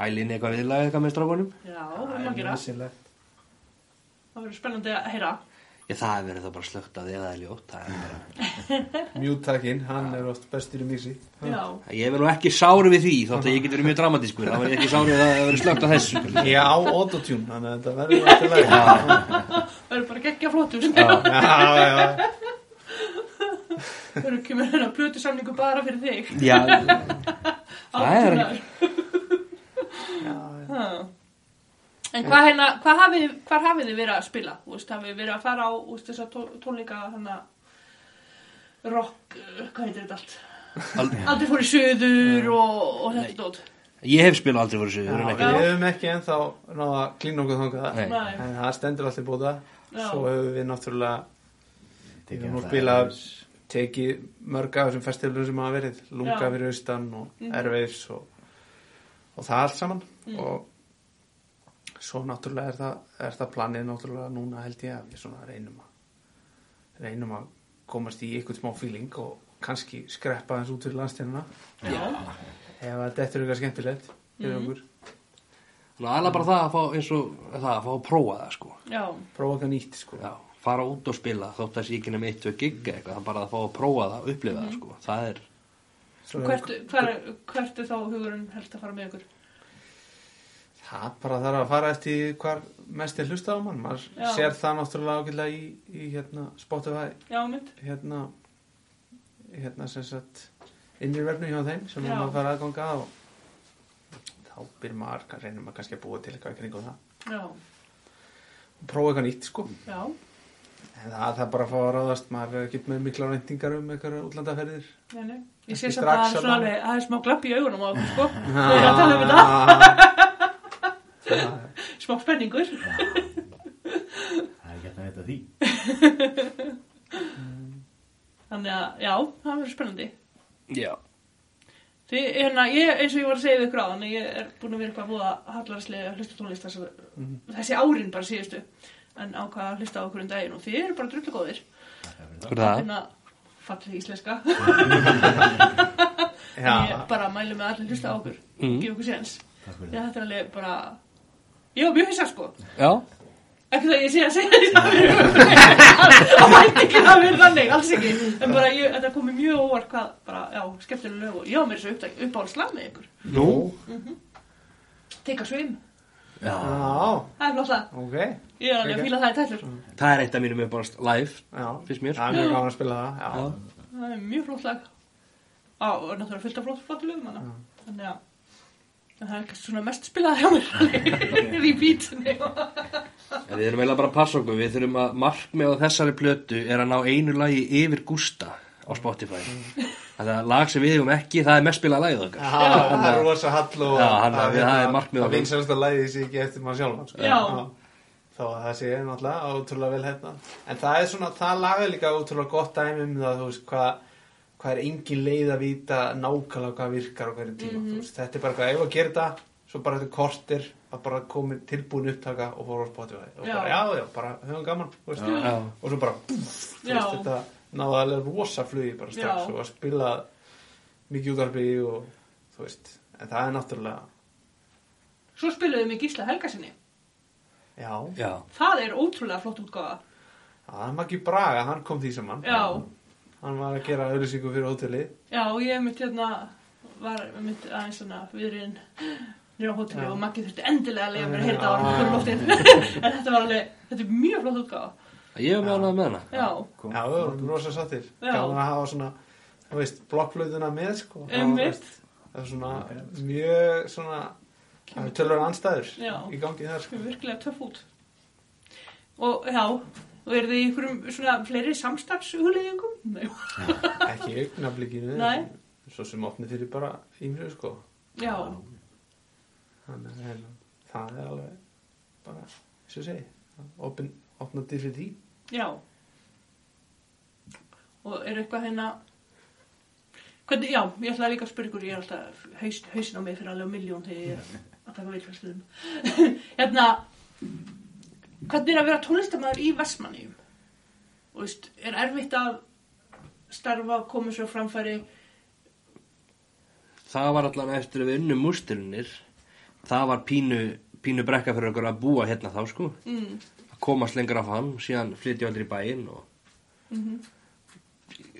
[SPEAKER 4] ælinni eitthvað viðlaga eitthvað með strákunum
[SPEAKER 1] já, það verður maður gera.
[SPEAKER 3] nauðsynlegt.
[SPEAKER 1] Það verður spennandi að heyra.
[SPEAKER 4] Ég það verður það bara slögt að eða það er ljótt það er bara-
[SPEAKER 3] Mjútakinn, hann er oft bestur í mixi.
[SPEAKER 1] Já,
[SPEAKER 4] Ég verður nú ekki sári við því þótt að ég getur verið mjög dramatískur Það verður ekki sári við að það verður slögt að þessu
[SPEAKER 3] Ég á autotune, þannig að þetta verður alltaf læg.
[SPEAKER 1] verður bara geggja flottur.
[SPEAKER 3] Já, já, já.
[SPEAKER 1] Verður ekki með hérna plötu samningu bara fyrir þig.
[SPEAKER 4] Já, það er
[SPEAKER 1] Átunar. Ha. En hvað hérna, hvað hafið, hvar hafið þið verið að spila? Þú veist, hafið þið verið að fara á úst, þessa tó- tónleika hana, rock, uh, hvað heitir þetta allt?
[SPEAKER 4] Al-
[SPEAKER 1] Aldrei fór í söður og, og þetta dót.
[SPEAKER 4] Ég hef spilað aldrei voru sögur en
[SPEAKER 3] Já,
[SPEAKER 4] ekki
[SPEAKER 3] Við höfum ekki ennþá náða að klína okkur þangað
[SPEAKER 4] Nei.
[SPEAKER 1] Nei.
[SPEAKER 3] en það stendur allt í bóta
[SPEAKER 1] Já.
[SPEAKER 3] svo höfum við náttúrulega við höfum nú
[SPEAKER 2] það
[SPEAKER 3] spilað
[SPEAKER 2] aðeins.
[SPEAKER 3] tekið mörg af þessum festivalum sem hafa verið lunga
[SPEAKER 1] Já. Mhm.
[SPEAKER 3] fyrir austan og erveifs og, og það allt saman og svo náttúrulega er það, er það planið náttúrulega núna held ég að við svona reynum að reynum að komast í ykkur smá feeling og kannski skreppa aðeins út fyrir landstjörnuna
[SPEAKER 1] Já.
[SPEAKER 3] ef að þetta er eitthvað skemmtilegt fyrir
[SPEAKER 1] Mhm.
[SPEAKER 3] okkur,
[SPEAKER 4] Nú, alveg bara það að fá, eins og það að fá að prófa það, sko.
[SPEAKER 1] Já,
[SPEAKER 3] prófa eitthvað nýtt sko
[SPEAKER 4] Já, fara út og spila, þótt að sé ekki nefnum eitt og giga eitthvað, það er bara að fá að prófa það, upplifa það, sko. Það er,
[SPEAKER 3] Svo-
[SPEAKER 1] hvert, hver, hvert er þá hugurinn helst að fara með ykkur?
[SPEAKER 3] Það bara þarf að fara eftir hvar mest er hlusta á mann. Maður
[SPEAKER 1] Já.
[SPEAKER 3] sér það náttúrulega ágætlega í, í hérna, Spotify,
[SPEAKER 1] Já, mynd.
[SPEAKER 3] hérna, hérna sem sagt innirverfni hjá þeim sem
[SPEAKER 1] Já.
[SPEAKER 3] maður fara aðganga að og þá byrjum maður, kann- reynir maður kannski að búa til eitthvað í kringum það.
[SPEAKER 1] Já,
[SPEAKER 3] Og prófa eitthvað nýtt sko.
[SPEAKER 1] já,
[SPEAKER 3] En það, það er bara að fá að ráðast, maður er ekki með mikla ræntingar um eitthvað útlandaferðir.
[SPEAKER 1] nei, nei. Ég
[SPEAKER 3] Ekki
[SPEAKER 1] sé samt að
[SPEAKER 3] strax
[SPEAKER 1] það er svona
[SPEAKER 3] allavega.
[SPEAKER 1] alveg, það er smá glapp í augunum á okkur, sko. Það er að tala um þetta.
[SPEAKER 3] Ah.
[SPEAKER 1] Smá spenningur.
[SPEAKER 2] Það er ekki hægt að þetta því
[SPEAKER 1] Þannig að, já, það verður spennandi.
[SPEAKER 4] já,
[SPEAKER 1] Því, hérna, ég, eins og ég var að segja við ykkur á þannig ég er búin að vera eitthvað búið að hallarslega hlusta á tónlist þessi,
[SPEAKER 2] Mhm.
[SPEAKER 1] þessi árin bara síðustu en ákvað að hlusta á okkur um daginn og þið eru bara drullu góðir
[SPEAKER 4] fyrir það.
[SPEAKER 1] hérna, fattu því íslenska
[SPEAKER 3] Já,
[SPEAKER 1] ég bara mælu með að allir hlusta á okkur
[SPEAKER 4] Mm.
[SPEAKER 1] gefa okkur séns
[SPEAKER 2] Mhm. Takk fyrir
[SPEAKER 1] Já, þetta er alveg bara ég var mjög hissa sko
[SPEAKER 4] Já,
[SPEAKER 1] ekki það ég sé að segja því að við að væntingin hafi verið þannig alls ekki en bara ég, þetta komið mjög óvart hvað bara, já, skemmtilega lög og já, mér er svo upptæk uppáhaldslag með ykkur
[SPEAKER 4] nú,
[SPEAKER 1] Take a swim,
[SPEAKER 4] já,
[SPEAKER 3] Já,
[SPEAKER 1] það er flott lag
[SPEAKER 3] ok.
[SPEAKER 1] Ég er alveg að fíla það í tællur.
[SPEAKER 3] Mm.
[SPEAKER 4] það er eitt af mínum uppáðast live,
[SPEAKER 3] Já,
[SPEAKER 4] Finnst mér.
[SPEAKER 3] Það er mjög gaman að spila það, já.
[SPEAKER 4] Já.
[SPEAKER 1] Það er mjög flott lag. Á, og náttúrulega fullt af flott, flott lögum hana.
[SPEAKER 3] Mm.
[SPEAKER 1] Þannig að en það er kannski svona mest spilað hjá mér. Repeatinni.
[SPEAKER 4] en við erum eiginlega bara að passa okkur, við þurfum að markmið á þessari plötu er að ná einu lagi yfir Gústa á Spotify. Þetta lag sem við hefum ekki, það er mest spilað lagið okkar.
[SPEAKER 3] Já, það er rosa hall og hérna
[SPEAKER 4] Já, hann-
[SPEAKER 3] að-
[SPEAKER 4] við- það er markmið
[SPEAKER 3] að
[SPEAKER 4] okkar.
[SPEAKER 3] vinsalasta læðið sé ekki eftir maður sjálfan sko.
[SPEAKER 1] Já.
[SPEAKER 3] Þá að það sé náttúrulega ótrúlega vel hérna En það er svona, það laga líka ótrúlega gott dæmi um það, þú veist, hvað hvað er engin leið að vita nákvæmlega hvað virkar á hverju tíma,
[SPEAKER 1] Mhm.
[SPEAKER 3] þú veist, þetta er bara eitthvað, ef að gera þetta, svo bara þetta kortir að bara komi tilbúin upptaka og fór á Spotify og
[SPEAKER 1] Já.
[SPEAKER 3] bara, já, já, bara höfum gaman, þú veist,
[SPEAKER 4] Já.
[SPEAKER 3] og svo bara, búf, þú
[SPEAKER 1] Já.
[SPEAKER 3] veist, þetta náði alveg rosa flugi bara strax
[SPEAKER 1] Já.
[SPEAKER 3] og að spila mikið útarpi og þú veist en það er náttúrulega
[SPEAKER 1] Svo spiluðum við Gísla Helgasinni.
[SPEAKER 3] já,
[SPEAKER 4] Já,
[SPEAKER 1] Það er ótrúlega flott útgáfa.
[SPEAKER 3] það er Maggi Braga, hann kom því saman
[SPEAKER 1] Já.
[SPEAKER 3] hann var að gera auðlýsingu fyrir hóteli
[SPEAKER 1] Já, ég mitt hérna var mitt aðeins svona viðriðin nýra á hóteli
[SPEAKER 3] Já.
[SPEAKER 1] og Maggi þurfti endilega að lega mér að heyrta á
[SPEAKER 3] Já.
[SPEAKER 1] hann fyrir lóttin en þetta var alveg, þetta er mjög flott útgáfa
[SPEAKER 4] Ég var með hana með hana
[SPEAKER 1] Já,
[SPEAKER 2] Kom.
[SPEAKER 3] Já, við vorum rosa sattir
[SPEAKER 1] Já.
[SPEAKER 3] Gaman að hafa svona, þú veist, blokkflöðuna með sko Það var,
[SPEAKER 1] einmitt
[SPEAKER 3] Það er svona mjög svona Það er tölur anstæður
[SPEAKER 1] Já.
[SPEAKER 3] í gangi þar
[SPEAKER 1] Það
[SPEAKER 3] sko
[SPEAKER 1] er virkilega töff út Og já, og er þið í einhverjum svona fleiri samstarfsugulegingum? Nei,
[SPEAKER 3] Ekki í augnablikinu
[SPEAKER 1] Nei.
[SPEAKER 3] Svo sem opnið fyrir bara ímrið sko
[SPEAKER 1] já,
[SPEAKER 3] Þannig að hérna, það er alveg bara, eins og ég segi opin, Opna dyr fyrir því
[SPEAKER 1] já Og er eitthvað hérna Hvernig, já, ég ætlaði líka að spyrja ykkur, ég er alltaf haus, hausin á mig fyrir alveg miljón þegar ég er að taka vilfærsluðum. hérna, hvernig er að vera tónlistamæður í Vestmanniðum? Og veist, er erfitt að starfa, koma sér á framfæri?
[SPEAKER 4] Það var allan eftir að við unnum músturinnir Það var pínu, pínu brekka fyrir okkur að búa hérna þá sko
[SPEAKER 1] Mm,
[SPEAKER 4] að komast lengra af hann síðan flytja allir í bæinn og
[SPEAKER 1] Mhm.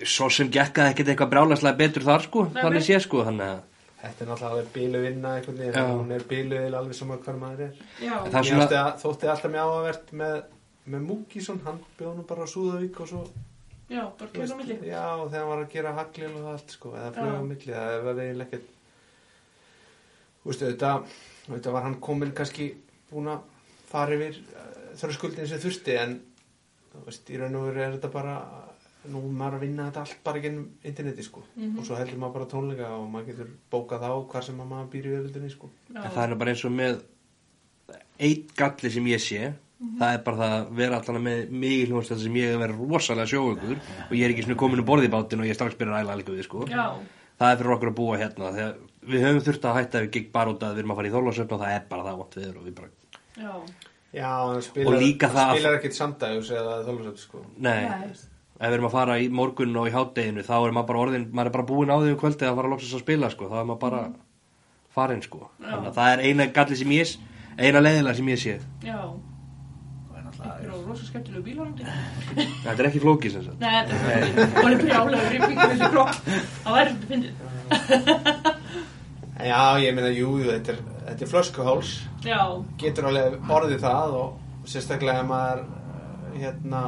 [SPEAKER 4] svo sem gekkaði ekkert eitthvað brjálæslega betur þar sko
[SPEAKER 1] Nei,
[SPEAKER 4] þannig
[SPEAKER 1] nei.
[SPEAKER 4] sé sko þannig að
[SPEAKER 3] Þetta er náttúrulega alveg bílu vinna einhvern veginn,
[SPEAKER 4] Já.
[SPEAKER 3] þannig að hún er bílu alveg saman hvar maður er.
[SPEAKER 1] já,
[SPEAKER 4] En
[SPEAKER 3] Mér
[SPEAKER 4] það er svona
[SPEAKER 3] átti að, þótti alltaf mjög áhugavert með, með Múkísson, hann bjóð nú bara á Súðavík og svo...
[SPEAKER 1] já, bara kemur á milli.
[SPEAKER 3] Já, og þegar hann var að gera haglil og allt, sko, eða flög á
[SPEAKER 1] Já.
[SPEAKER 3] milli, það var eiginlega ekkert... Þú veistu, auðvitað, auðvitað var hann komin kannski búin að fara yfir eh, þröskuldin sem þurfti, en þú veist, í raun og veru er þetta bara... Nú er maður að vinna þetta allt bara gennum interneti, sko.
[SPEAKER 1] Mhm.
[SPEAKER 3] Og svo heldur maður bara tónleika og maður getur bókað á hvað sem að maður býr í öfildinni, sko.
[SPEAKER 1] Já,
[SPEAKER 4] En það er nú bara eins og með eitt galli sem ég sé
[SPEAKER 1] Mhm.
[SPEAKER 4] það er bara það að vera allan með mig hljóðast þetta sem ég hef verið rosalega sjóaukur og ég er ekki svona komin um borði í bátinn og ég er strax byrjað að æla alveg við sko
[SPEAKER 1] Já.
[SPEAKER 4] það er fyrir okkur að búa hérna þegar við höfum þurft að hætta við gikk bara út að við erum að fara í þólasöfn og það er bara það vant við og við bara,
[SPEAKER 1] já,
[SPEAKER 3] Já, en spilar,
[SPEAKER 4] Og líka það-
[SPEAKER 3] spilar ekkert samdægus eða þólusöld sko.
[SPEAKER 4] nei,
[SPEAKER 1] Nei.
[SPEAKER 4] ef við erum að fara í morgun og í hátdeginu þá er maður bara orðin, maður er bara búin á því um kvöldið að fara að loksast að spila sko, þá er maður bara
[SPEAKER 1] Mhm.
[SPEAKER 4] farin sko, þannig að það er eina galli sem ég, eina leiðilega sem ég sé
[SPEAKER 1] já. Það
[SPEAKER 2] Það er náttúrulega
[SPEAKER 1] eru rosa skemmtilegu bílandi.
[SPEAKER 4] þetta er ekki flókið sem sagt
[SPEAKER 1] Nei, þetta er fyndið. Og það er álega rýpingum þessu klokk. Það væri þetta fyndið.
[SPEAKER 3] En Já, ég meina, jú, jú, þetta er, þetta er flöskuháls
[SPEAKER 1] Já,
[SPEAKER 3] getur alveg orðið það og sérstaklega ef maður eh, hérna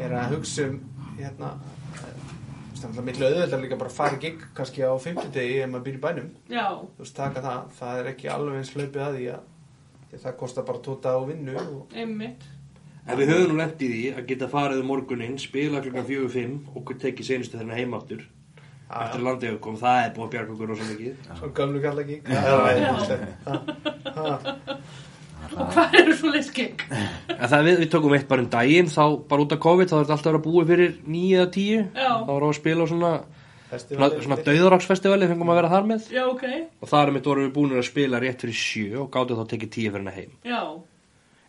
[SPEAKER 3] er að hugsa um hérna stannlega miklu auðveldar líka bara að fara í gig kannski á fimmtudegi ef maður býr í bænum
[SPEAKER 1] já,
[SPEAKER 3] þú veist, taka það, það er ekki alveg eins hlaupið að því að því að það kostar bara tóta á vinnu og
[SPEAKER 1] einmitt.
[SPEAKER 4] En við höfum nú lent í því að geta farið um morguninn, spila klukkan 4-5 og tekið senustu þeirna heimáttur eftir að landið kom, það er búið að bjarga okkur rosa mikið.
[SPEAKER 3] svo gömlu kalla gig það er ræðilegt það
[SPEAKER 1] Og hvað eru svo leiskik?
[SPEAKER 4] En það við, við tókum eitt bara um daginn, þá bara út af COVID, þá er þetta alltaf að vera búið fyrir 9 eða 10.
[SPEAKER 1] Já.
[SPEAKER 4] Þá var á að spila á svona, svona,
[SPEAKER 3] Festivalið-
[SPEAKER 4] svona dauðaraksfestivali, fengum að vera þar með.
[SPEAKER 1] Já, ok.
[SPEAKER 4] Og þar með vorum við búinir að spila rétt fyrir 7 og gátum þá tekið 10 fyrir hennar heim.
[SPEAKER 1] Já,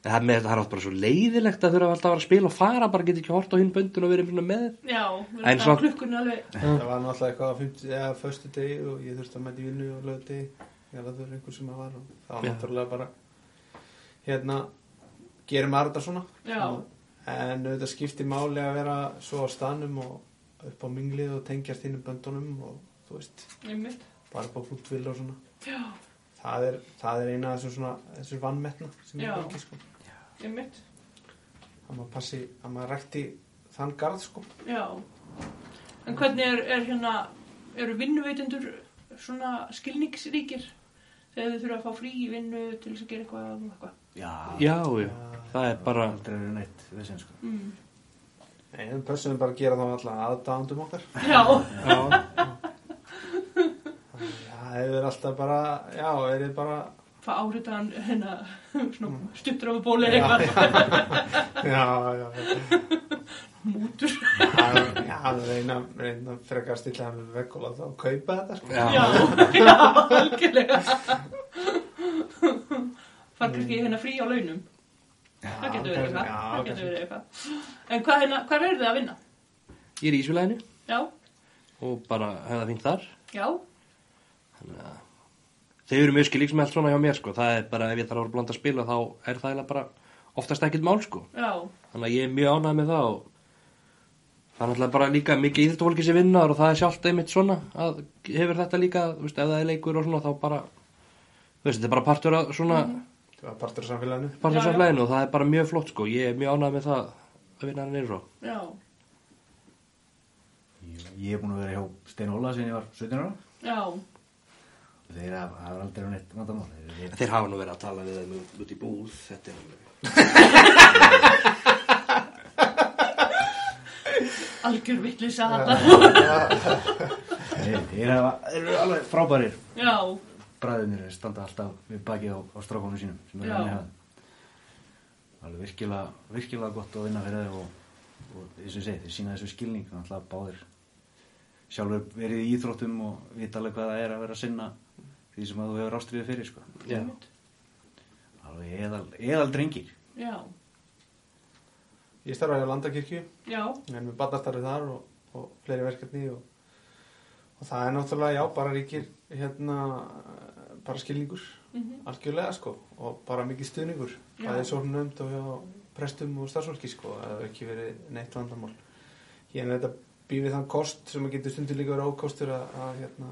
[SPEAKER 4] En það, með, þetta það er alltaf bara svo leiðilegt að þurfa alltaf að vera að spila og fara, bara geta ekki hort á hinn böndun og verið svona með.
[SPEAKER 1] já. við
[SPEAKER 4] En
[SPEAKER 1] erum
[SPEAKER 4] svo-
[SPEAKER 1] það klukkunni alveg.
[SPEAKER 3] Það var náttúrulega eitthvað á 50, eða föstu degi og ég þurfti að mæta í vinnu og löðu degi ég alveg þurfti einhver sem að var og það var
[SPEAKER 4] Já.
[SPEAKER 3] náttúrulega bara hérna, gerir maður þetta svona
[SPEAKER 1] Já.
[SPEAKER 3] en auðvitað skipti máli að vera svo á stanum og upp á minglið og tengjast inn um böndunum og þú veist,
[SPEAKER 1] Einmitt.
[SPEAKER 3] bara upp á flúttvill og svona
[SPEAKER 1] Já,
[SPEAKER 3] það er, það er eina af þessum svona þessum vannmetna sem
[SPEAKER 1] Já.
[SPEAKER 3] er ekki sko
[SPEAKER 1] einmitt.
[SPEAKER 3] að maður passi, að maður rækti þann garð sko
[SPEAKER 1] Já. En hvernig er, er hérna, eru vinnuveitendur svona skilningsríkir? Þegar þau þurfa að fá frí í vinnu til þess að gera eitthvað og eitthvað.
[SPEAKER 2] Já,
[SPEAKER 4] Já, já, það er bara...
[SPEAKER 2] aldrei er neitt við sem sko
[SPEAKER 1] Mm.
[SPEAKER 3] en við pössum bara að gera þá allan aðdándum okkar
[SPEAKER 1] Já,
[SPEAKER 4] Já.
[SPEAKER 3] Já, þeir eru alltaf bara, já, þeir eru bara,
[SPEAKER 1] hvað áhritaðan hérna, svona stuttur á bóli eða
[SPEAKER 3] Mm. Já,
[SPEAKER 1] eitthvað.
[SPEAKER 3] já, já, já,
[SPEAKER 1] mútur
[SPEAKER 3] já, þeir reyna, reyna frekar að stilla þeim við vekk og láta þá kaupa þetta, sko.
[SPEAKER 4] Já.
[SPEAKER 1] já, já, algjörlega far kannski hérna frí á launum það getur verið eitthvað
[SPEAKER 3] Mm. Já,
[SPEAKER 1] það getur
[SPEAKER 3] kannski.
[SPEAKER 1] verið eitthvað en hvað hérna, hvað er þið að vinna?
[SPEAKER 4] Ég er í Ísvilæðinu
[SPEAKER 1] já,
[SPEAKER 4] og bara hefði það fínt þar.
[SPEAKER 1] já,
[SPEAKER 4] Þannig að þeir eru mjög skilíks með allt svona hjá mér sko. Það er bara ef ég þarf að vera bland að spila þá er það eiginlega bara oftast ekkert mál sko.
[SPEAKER 1] já
[SPEAKER 4] Þannig að ég er mjög ánægð með það og Það er náttúrulega bara líka mikið íþjóttufólki sem vinnar og það er sjálft einmitt svona að hefur þetta líka, þú veist, ef það er leikur og svona þá bara, þú veist, þetta er bara partur af svona,
[SPEAKER 3] Það var partur af samfélaginu.
[SPEAKER 1] Mhm. Já,
[SPEAKER 4] partur af
[SPEAKER 1] já.
[SPEAKER 4] samfélaginu og það er bara mjög flott sko, ég er mjög ánægð með það að vinna sko. hann yfir og
[SPEAKER 1] Já,
[SPEAKER 2] Ég, ég er búin að vera hjá Stein Óla sem ég var 17 ára.
[SPEAKER 1] já,
[SPEAKER 2] Þeir hafa það er aldrei neitt vandamál. Þeir, þeir,
[SPEAKER 4] Þeir hafa nú verið að tala við þeim út- út í búð, þetta er alveg,
[SPEAKER 1] algjör vitlis að þetta.
[SPEAKER 2] þeir, þeir, hafa, þeir eru alveg frábærir.
[SPEAKER 1] Já,
[SPEAKER 2] Bræðinir standa alltaf við bakið á, á strákonum sínum sem eru
[SPEAKER 1] Já.
[SPEAKER 2] hann í hafðin. Alveg virkilega, virkilega gott að vinna fyrir þeir og, og eins og ég segi, þeir sína þessu skilning. Þannig að báðir sjálfur verið í íþróttum og vita alveg hvað það er að vera að sinna því sem að þú hefur ástriðið fyrir, sko.
[SPEAKER 4] já,
[SPEAKER 2] Alveg eðal, eðal drengir.
[SPEAKER 1] já,
[SPEAKER 3] Ég starfaði á Landakirkju,
[SPEAKER 1] já,
[SPEAKER 3] en við barnastarfið þar og, og fleiri verkefni og, og það er náttúrulega, já, bara ríkir hérna, eh, bara skilningur,
[SPEAKER 1] Mhm.
[SPEAKER 3] algjörlega sko og bara mikið stuðningur.
[SPEAKER 1] Já.
[SPEAKER 3] Það er svo nöfnd og hjá prestum og starfsfólki sko, það hefur ekki verið neitt vandamál. Ég er þetta býð við þann kost sem að getur stundur líka verið ákostur að, að hérna,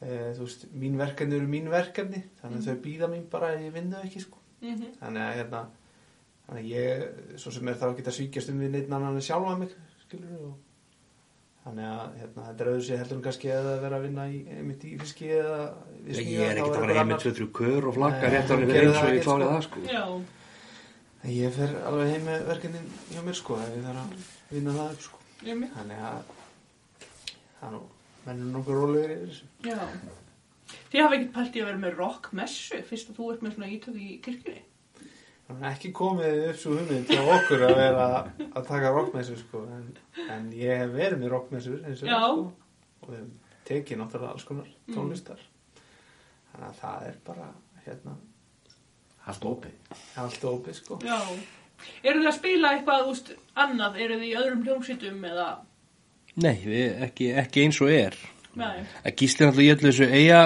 [SPEAKER 3] e, þú veist, mín verkefni eru mín verkefni, þannig að þau býða mín bara að ég vinna ekki sko.
[SPEAKER 1] mhm,
[SPEAKER 3] þannig að hérna þannig að ég, svo sem er þá ekki að svíkjast um við neitt annan en sjálfa mig skilur og þannig að hérna, þetta er auðvitað sér heldur en kannski eða að vera að vinna í, einmitt í fiski eða við
[SPEAKER 4] ég
[SPEAKER 3] smíðar,
[SPEAKER 4] er
[SPEAKER 3] þá
[SPEAKER 4] ekkert að
[SPEAKER 3] einhver
[SPEAKER 4] fara heim með
[SPEAKER 3] annar.
[SPEAKER 4] 2-3 kör og flagga
[SPEAKER 3] Nei,
[SPEAKER 4] rétt árið
[SPEAKER 3] gerðu
[SPEAKER 4] fyrir eins
[SPEAKER 3] það ekkert,
[SPEAKER 4] og ég
[SPEAKER 3] sko.
[SPEAKER 4] klárið það sko.
[SPEAKER 1] já,
[SPEAKER 3] En ég fer alveg heim með verkefnin hjá mér sko ef ég þarf að vinna það upp sko
[SPEAKER 1] einmitt,
[SPEAKER 3] þannig að það er nú mennur nokkuð rólegur yfir þessu
[SPEAKER 1] já. Þið hafa ekkert pælt í að vera með rockmessu fyrst að þú ert með svona ítök í kirkjunni.
[SPEAKER 3] Þannig að ekki komið upp svo hugmynd til okkur að vera að taka rockmessur sko en, en ég hef verið með rockmessur eins og
[SPEAKER 1] Já. Mm.
[SPEAKER 3] sko og við hefum tekið náttúrulega alls konar tónlistar þannig að það er bara hérna
[SPEAKER 2] Allt opið.
[SPEAKER 3] allt opið sko
[SPEAKER 1] Já. Eru þið að spila eitthvað úst annað? Eru þið í öðrum hljómsýtum eða?
[SPEAKER 4] Nei, við, ekki, ekki eins og er.
[SPEAKER 1] Nei,
[SPEAKER 4] Að gíslir alltaf í öllu þessu eiga,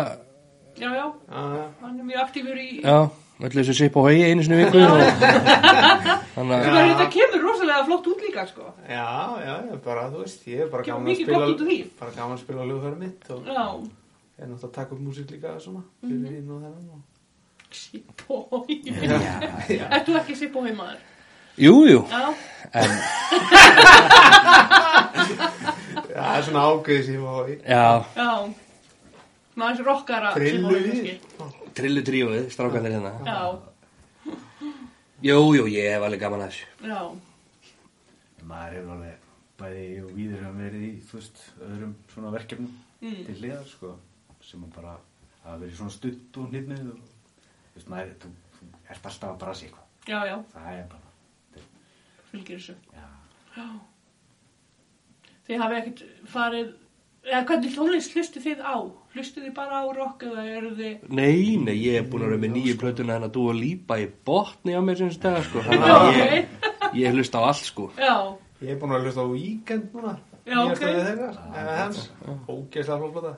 [SPEAKER 1] já, já,
[SPEAKER 3] Ah,
[SPEAKER 1] hann er mjög aktífur í...
[SPEAKER 4] já, öllu þessu sip á hegi einu sinni í viku og þannig
[SPEAKER 1] Sem
[SPEAKER 4] að,
[SPEAKER 1] að þetta kemur rosalega flott út líka, sko.
[SPEAKER 3] já, já, já, bara þú veist ég er bara
[SPEAKER 1] Kemur
[SPEAKER 3] gaman að
[SPEAKER 1] mikið
[SPEAKER 3] spila
[SPEAKER 1] gott út úr því.
[SPEAKER 3] bara gaman að spila lögfæri mitt og
[SPEAKER 1] Já,
[SPEAKER 3] er náttúrulega að taka upp músík líka svona fyrir hinn og þennan og
[SPEAKER 1] sipói.
[SPEAKER 2] Já,
[SPEAKER 1] Ert þú ekki sipói maður?
[SPEAKER 4] jú, jú,
[SPEAKER 1] Já,
[SPEAKER 4] en
[SPEAKER 3] Já, það er svona ágöðið sem ég má í
[SPEAKER 4] Já,
[SPEAKER 1] já. Maður er rockara
[SPEAKER 3] Frillu
[SPEAKER 1] Sipói,
[SPEAKER 3] í
[SPEAKER 1] kannski.
[SPEAKER 4] trillu tríóið, strákanir hérna
[SPEAKER 1] Já,
[SPEAKER 4] Jú, jú, ég hef alveg gaman að þessu
[SPEAKER 1] já,
[SPEAKER 2] maður hefur alveg bæði ég og víður hefur verið í þú veist, öðrum svona verkefnum til hliðar sko, sem að bara hafa verið svona stutt og hlýtnið og þú veist maður, þú, þú ert alltaf að brasa í eitthvað
[SPEAKER 1] já, já,
[SPEAKER 2] það er bara, þetta
[SPEAKER 1] fylgir þessu.
[SPEAKER 2] er- já,
[SPEAKER 1] Já. Þið hafið ekkert farið... Eða hvernig tónlist hlustu þið á? Hlustu þið bara á rock eða eru þið...
[SPEAKER 4] Nei, nei, ég hef búin að vera með nýju plötuna hennar Dúa Lípa í botni á mér sem stega sko Þannig að ég, ég hlusta á allt sko
[SPEAKER 1] Já,
[SPEAKER 3] Ég er búin að hlusta á Weekend núna.
[SPEAKER 1] Já, ok.
[SPEAKER 3] Nýjasta við þeirra, eða hans. Ógeðslega flóflota.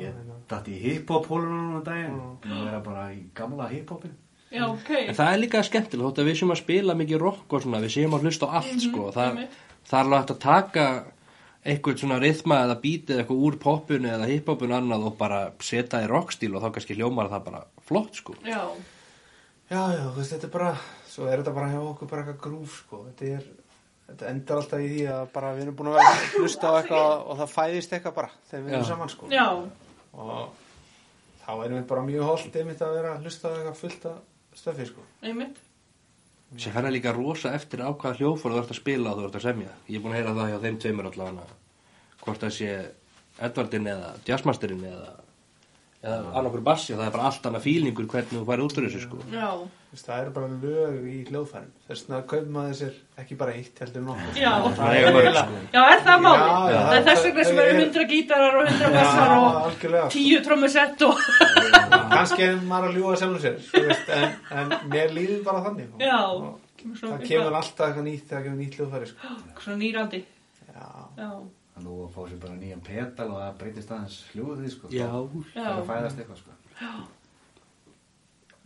[SPEAKER 2] ég datt í hiphop hólunum núna um daginn búin að vera bara í gamla hiphopin
[SPEAKER 1] já, ok.
[SPEAKER 4] En það er líka skemmtilega, þótt að við séum að spila mikið rock og svona Við séum að hlusta á allt sko Það,
[SPEAKER 1] einmitt.
[SPEAKER 4] það er alveg hægt að taka einhvern svona rithma eða bítið eitthvað úr poppunu eða hiphopunu annað og bara setja í rockstíl og þá kannski hljómar það bara flott sko
[SPEAKER 1] Já,
[SPEAKER 3] Já, já, þú veist, þetta er bara, svo er þetta bara hjá okkur bara eitthvað grúf, sko. Þetta er, þetta endar alltaf í því að bara við erum búin að vera að hlusta á eitthvað og það fæðist eitthvað bara þegar við erum
[SPEAKER 4] Já.
[SPEAKER 3] saman, sko.
[SPEAKER 1] já,
[SPEAKER 3] Og þá erum við bara mjög holdt einmitt að vera að hlusta á eitthvað fullt af stöfi, sko.
[SPEAKER 1] einmitt.
[SPEAKER 4] sem færða líka rosa eftir á hvaða hljófur þú ert að spila og þú ert að semja ég er búin að heyra það hjá þeim tveimur allavega hvort það sé Edvardin eða Jazzmasterinn eða, eða annarkur bassi það er bara allt annað fílingur hvernig þú færi út úr þessu sko
[SPEAKER 1] Já,
[SPEAKER 3] Þú veist, það eru bara lög í hljóðfærum. Þess vegna kaupir maður sér ekki bara eitt, heldur nokkuð.
[SPEAKER 1] já.
[SPEAKER 4] það er mörg
[SPEAKER 3] eiginlega-
[SPEAKER 4] sko
[SPEAKER 1] Já, er það máli?
[SPEAKER 3] Já, já.
[SPEAKER 1] það er þess vegna sem eru
[SPEAKER 3] Ég-
[SPEAKER 1] hundra gítarar og hundra bassar
[SPEAKER 3] Já,
[SPEAKER 1] og
[SPEAKER 3] algjörlega. sko.
[SPEAKER 1] tíu trommusett og...
[SPEAKER 3] kannski er maður að ljúa sjálfum sér þú veist, en, en mér líður bara þannig sko. og,
[SPEAKER 1] Já,
[SPEAKER 3] og
[SPEAKER 1] kemur svona
[SPEAKER 3] það kemur alltaf eitthvað nýtt þegar kemur nýtt hljóðfæri sko.
[SPEAKER 1] Svona nýrandi,
[SPEAKER 3] já,
[SPEAKER 1] já,
[SPEAKER 2] hann lóði að fá sér bara nýjan pedal og það breytist aðeins hljóðið sko
[SPEAKER 4] já,
[SPEAKER 2] það er að fæðast eitthvað sko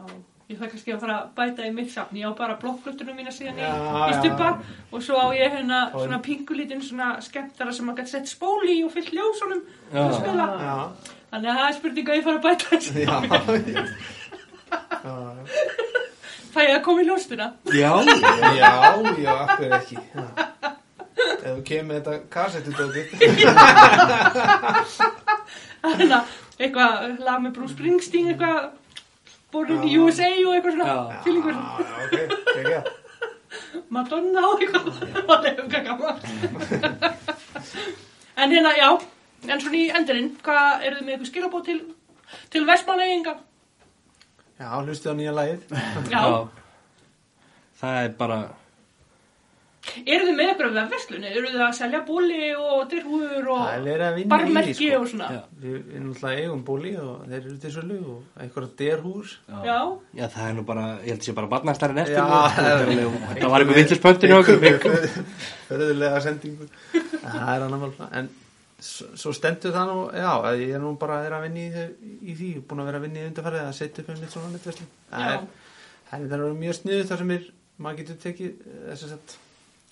[SPEAKER 1] já. Ég þarf kannski að fara að bæta í mitt safn. Ég á bara blokklutunum mína síðan
[SPEAKER 3] Já,
[SPEAKER 1] í, í
[SPEAKER 3] já.
[SPEAKER 1] stuppa og svo á ég hérna
[SPEAKER 3] Þá er-
[SPEAKER 1] svona pingulítinn svona skemmtara sem maður gæti sett spóli í og fyllt ljósunum til að
[SPEAKER 4] Já.
[SPEAKER 1] spila.
[SPEAKER 3] Já,
[SPEAKER 1] Þannig að það er spurning að ég fara að bæta þessu.
[SPEAKER 3] já, já.
[SPEAKER 1] Fæ ég að koma í ljóstuna?
[SPEAKER 4] Já,
[SPEAKER 3] Já, já, akkur ekki já. Ef þú kemur með þetta kassettudóti
[SPEAKER 1] Þannig að Hérna, eitthvað lag með Bruce Springsteen, eitthvað borinn í
[SPEAKER 3] Já.
[SPEAKER 1] USA og eitthvað
[SPEAKER 4] Já.
[SPEAKER 1] svona. Fyllingur.
[SPEAKER 3] ok, ekki að
[SPEAKER 1] Madonna og eitthvað það er eitthvað gaman en hérna, já en svona í endurinn, hvað eru þið með eitthvað skilabóð til, til vestmanleginga
[SPEAKER 3] Já, hlustu á nýja lagið
[SPEAKER 1] já,
[SPEAKER 4] Það er bara
[SPEAKER 1] eru þið með eitthvað vefverslunni, eru þið að selja bóli og dyrhúður
[SPEAKER 3] Það er
[SPEAKER 1] og
[SPEAKER 3] verið að vinna
[SPEAKER 1] barmerki
[SPEAKER 3] í því, sko.
[SPEAKER 1] og svona
[SPEAKER 4] já.
[SPEAKER 1] já,
[SPEAKER 3] Við við náttúrulega eigum bóli og þeir eru til sölu og einhverja derhús
[SPEAKER 1] já.
[SPEAKER 4] Já, það er nú bara, ég held að sé bara barnastærin eftir
[SPEAKER 3] Já,
[SPEAKER 4] nú.
[SPEAKER 3] það er-
[SPEAKER 4] Þetta var eitthvað vittlispöntinu okkur
[SPEAKER 3] Förðulega sendingu En Það er annar mál En s- svo stendur það nú, já, að ég er nú bara er að vinna í, þau- í því Búin að vera að vinna í undarfærið að setja upp einmitt svona netverslun Það
[SPEAKER 1] Já.
[SPEAKER 3] er, það er það eru mjög sniðu þar sem er, maður getur tekið þess að sett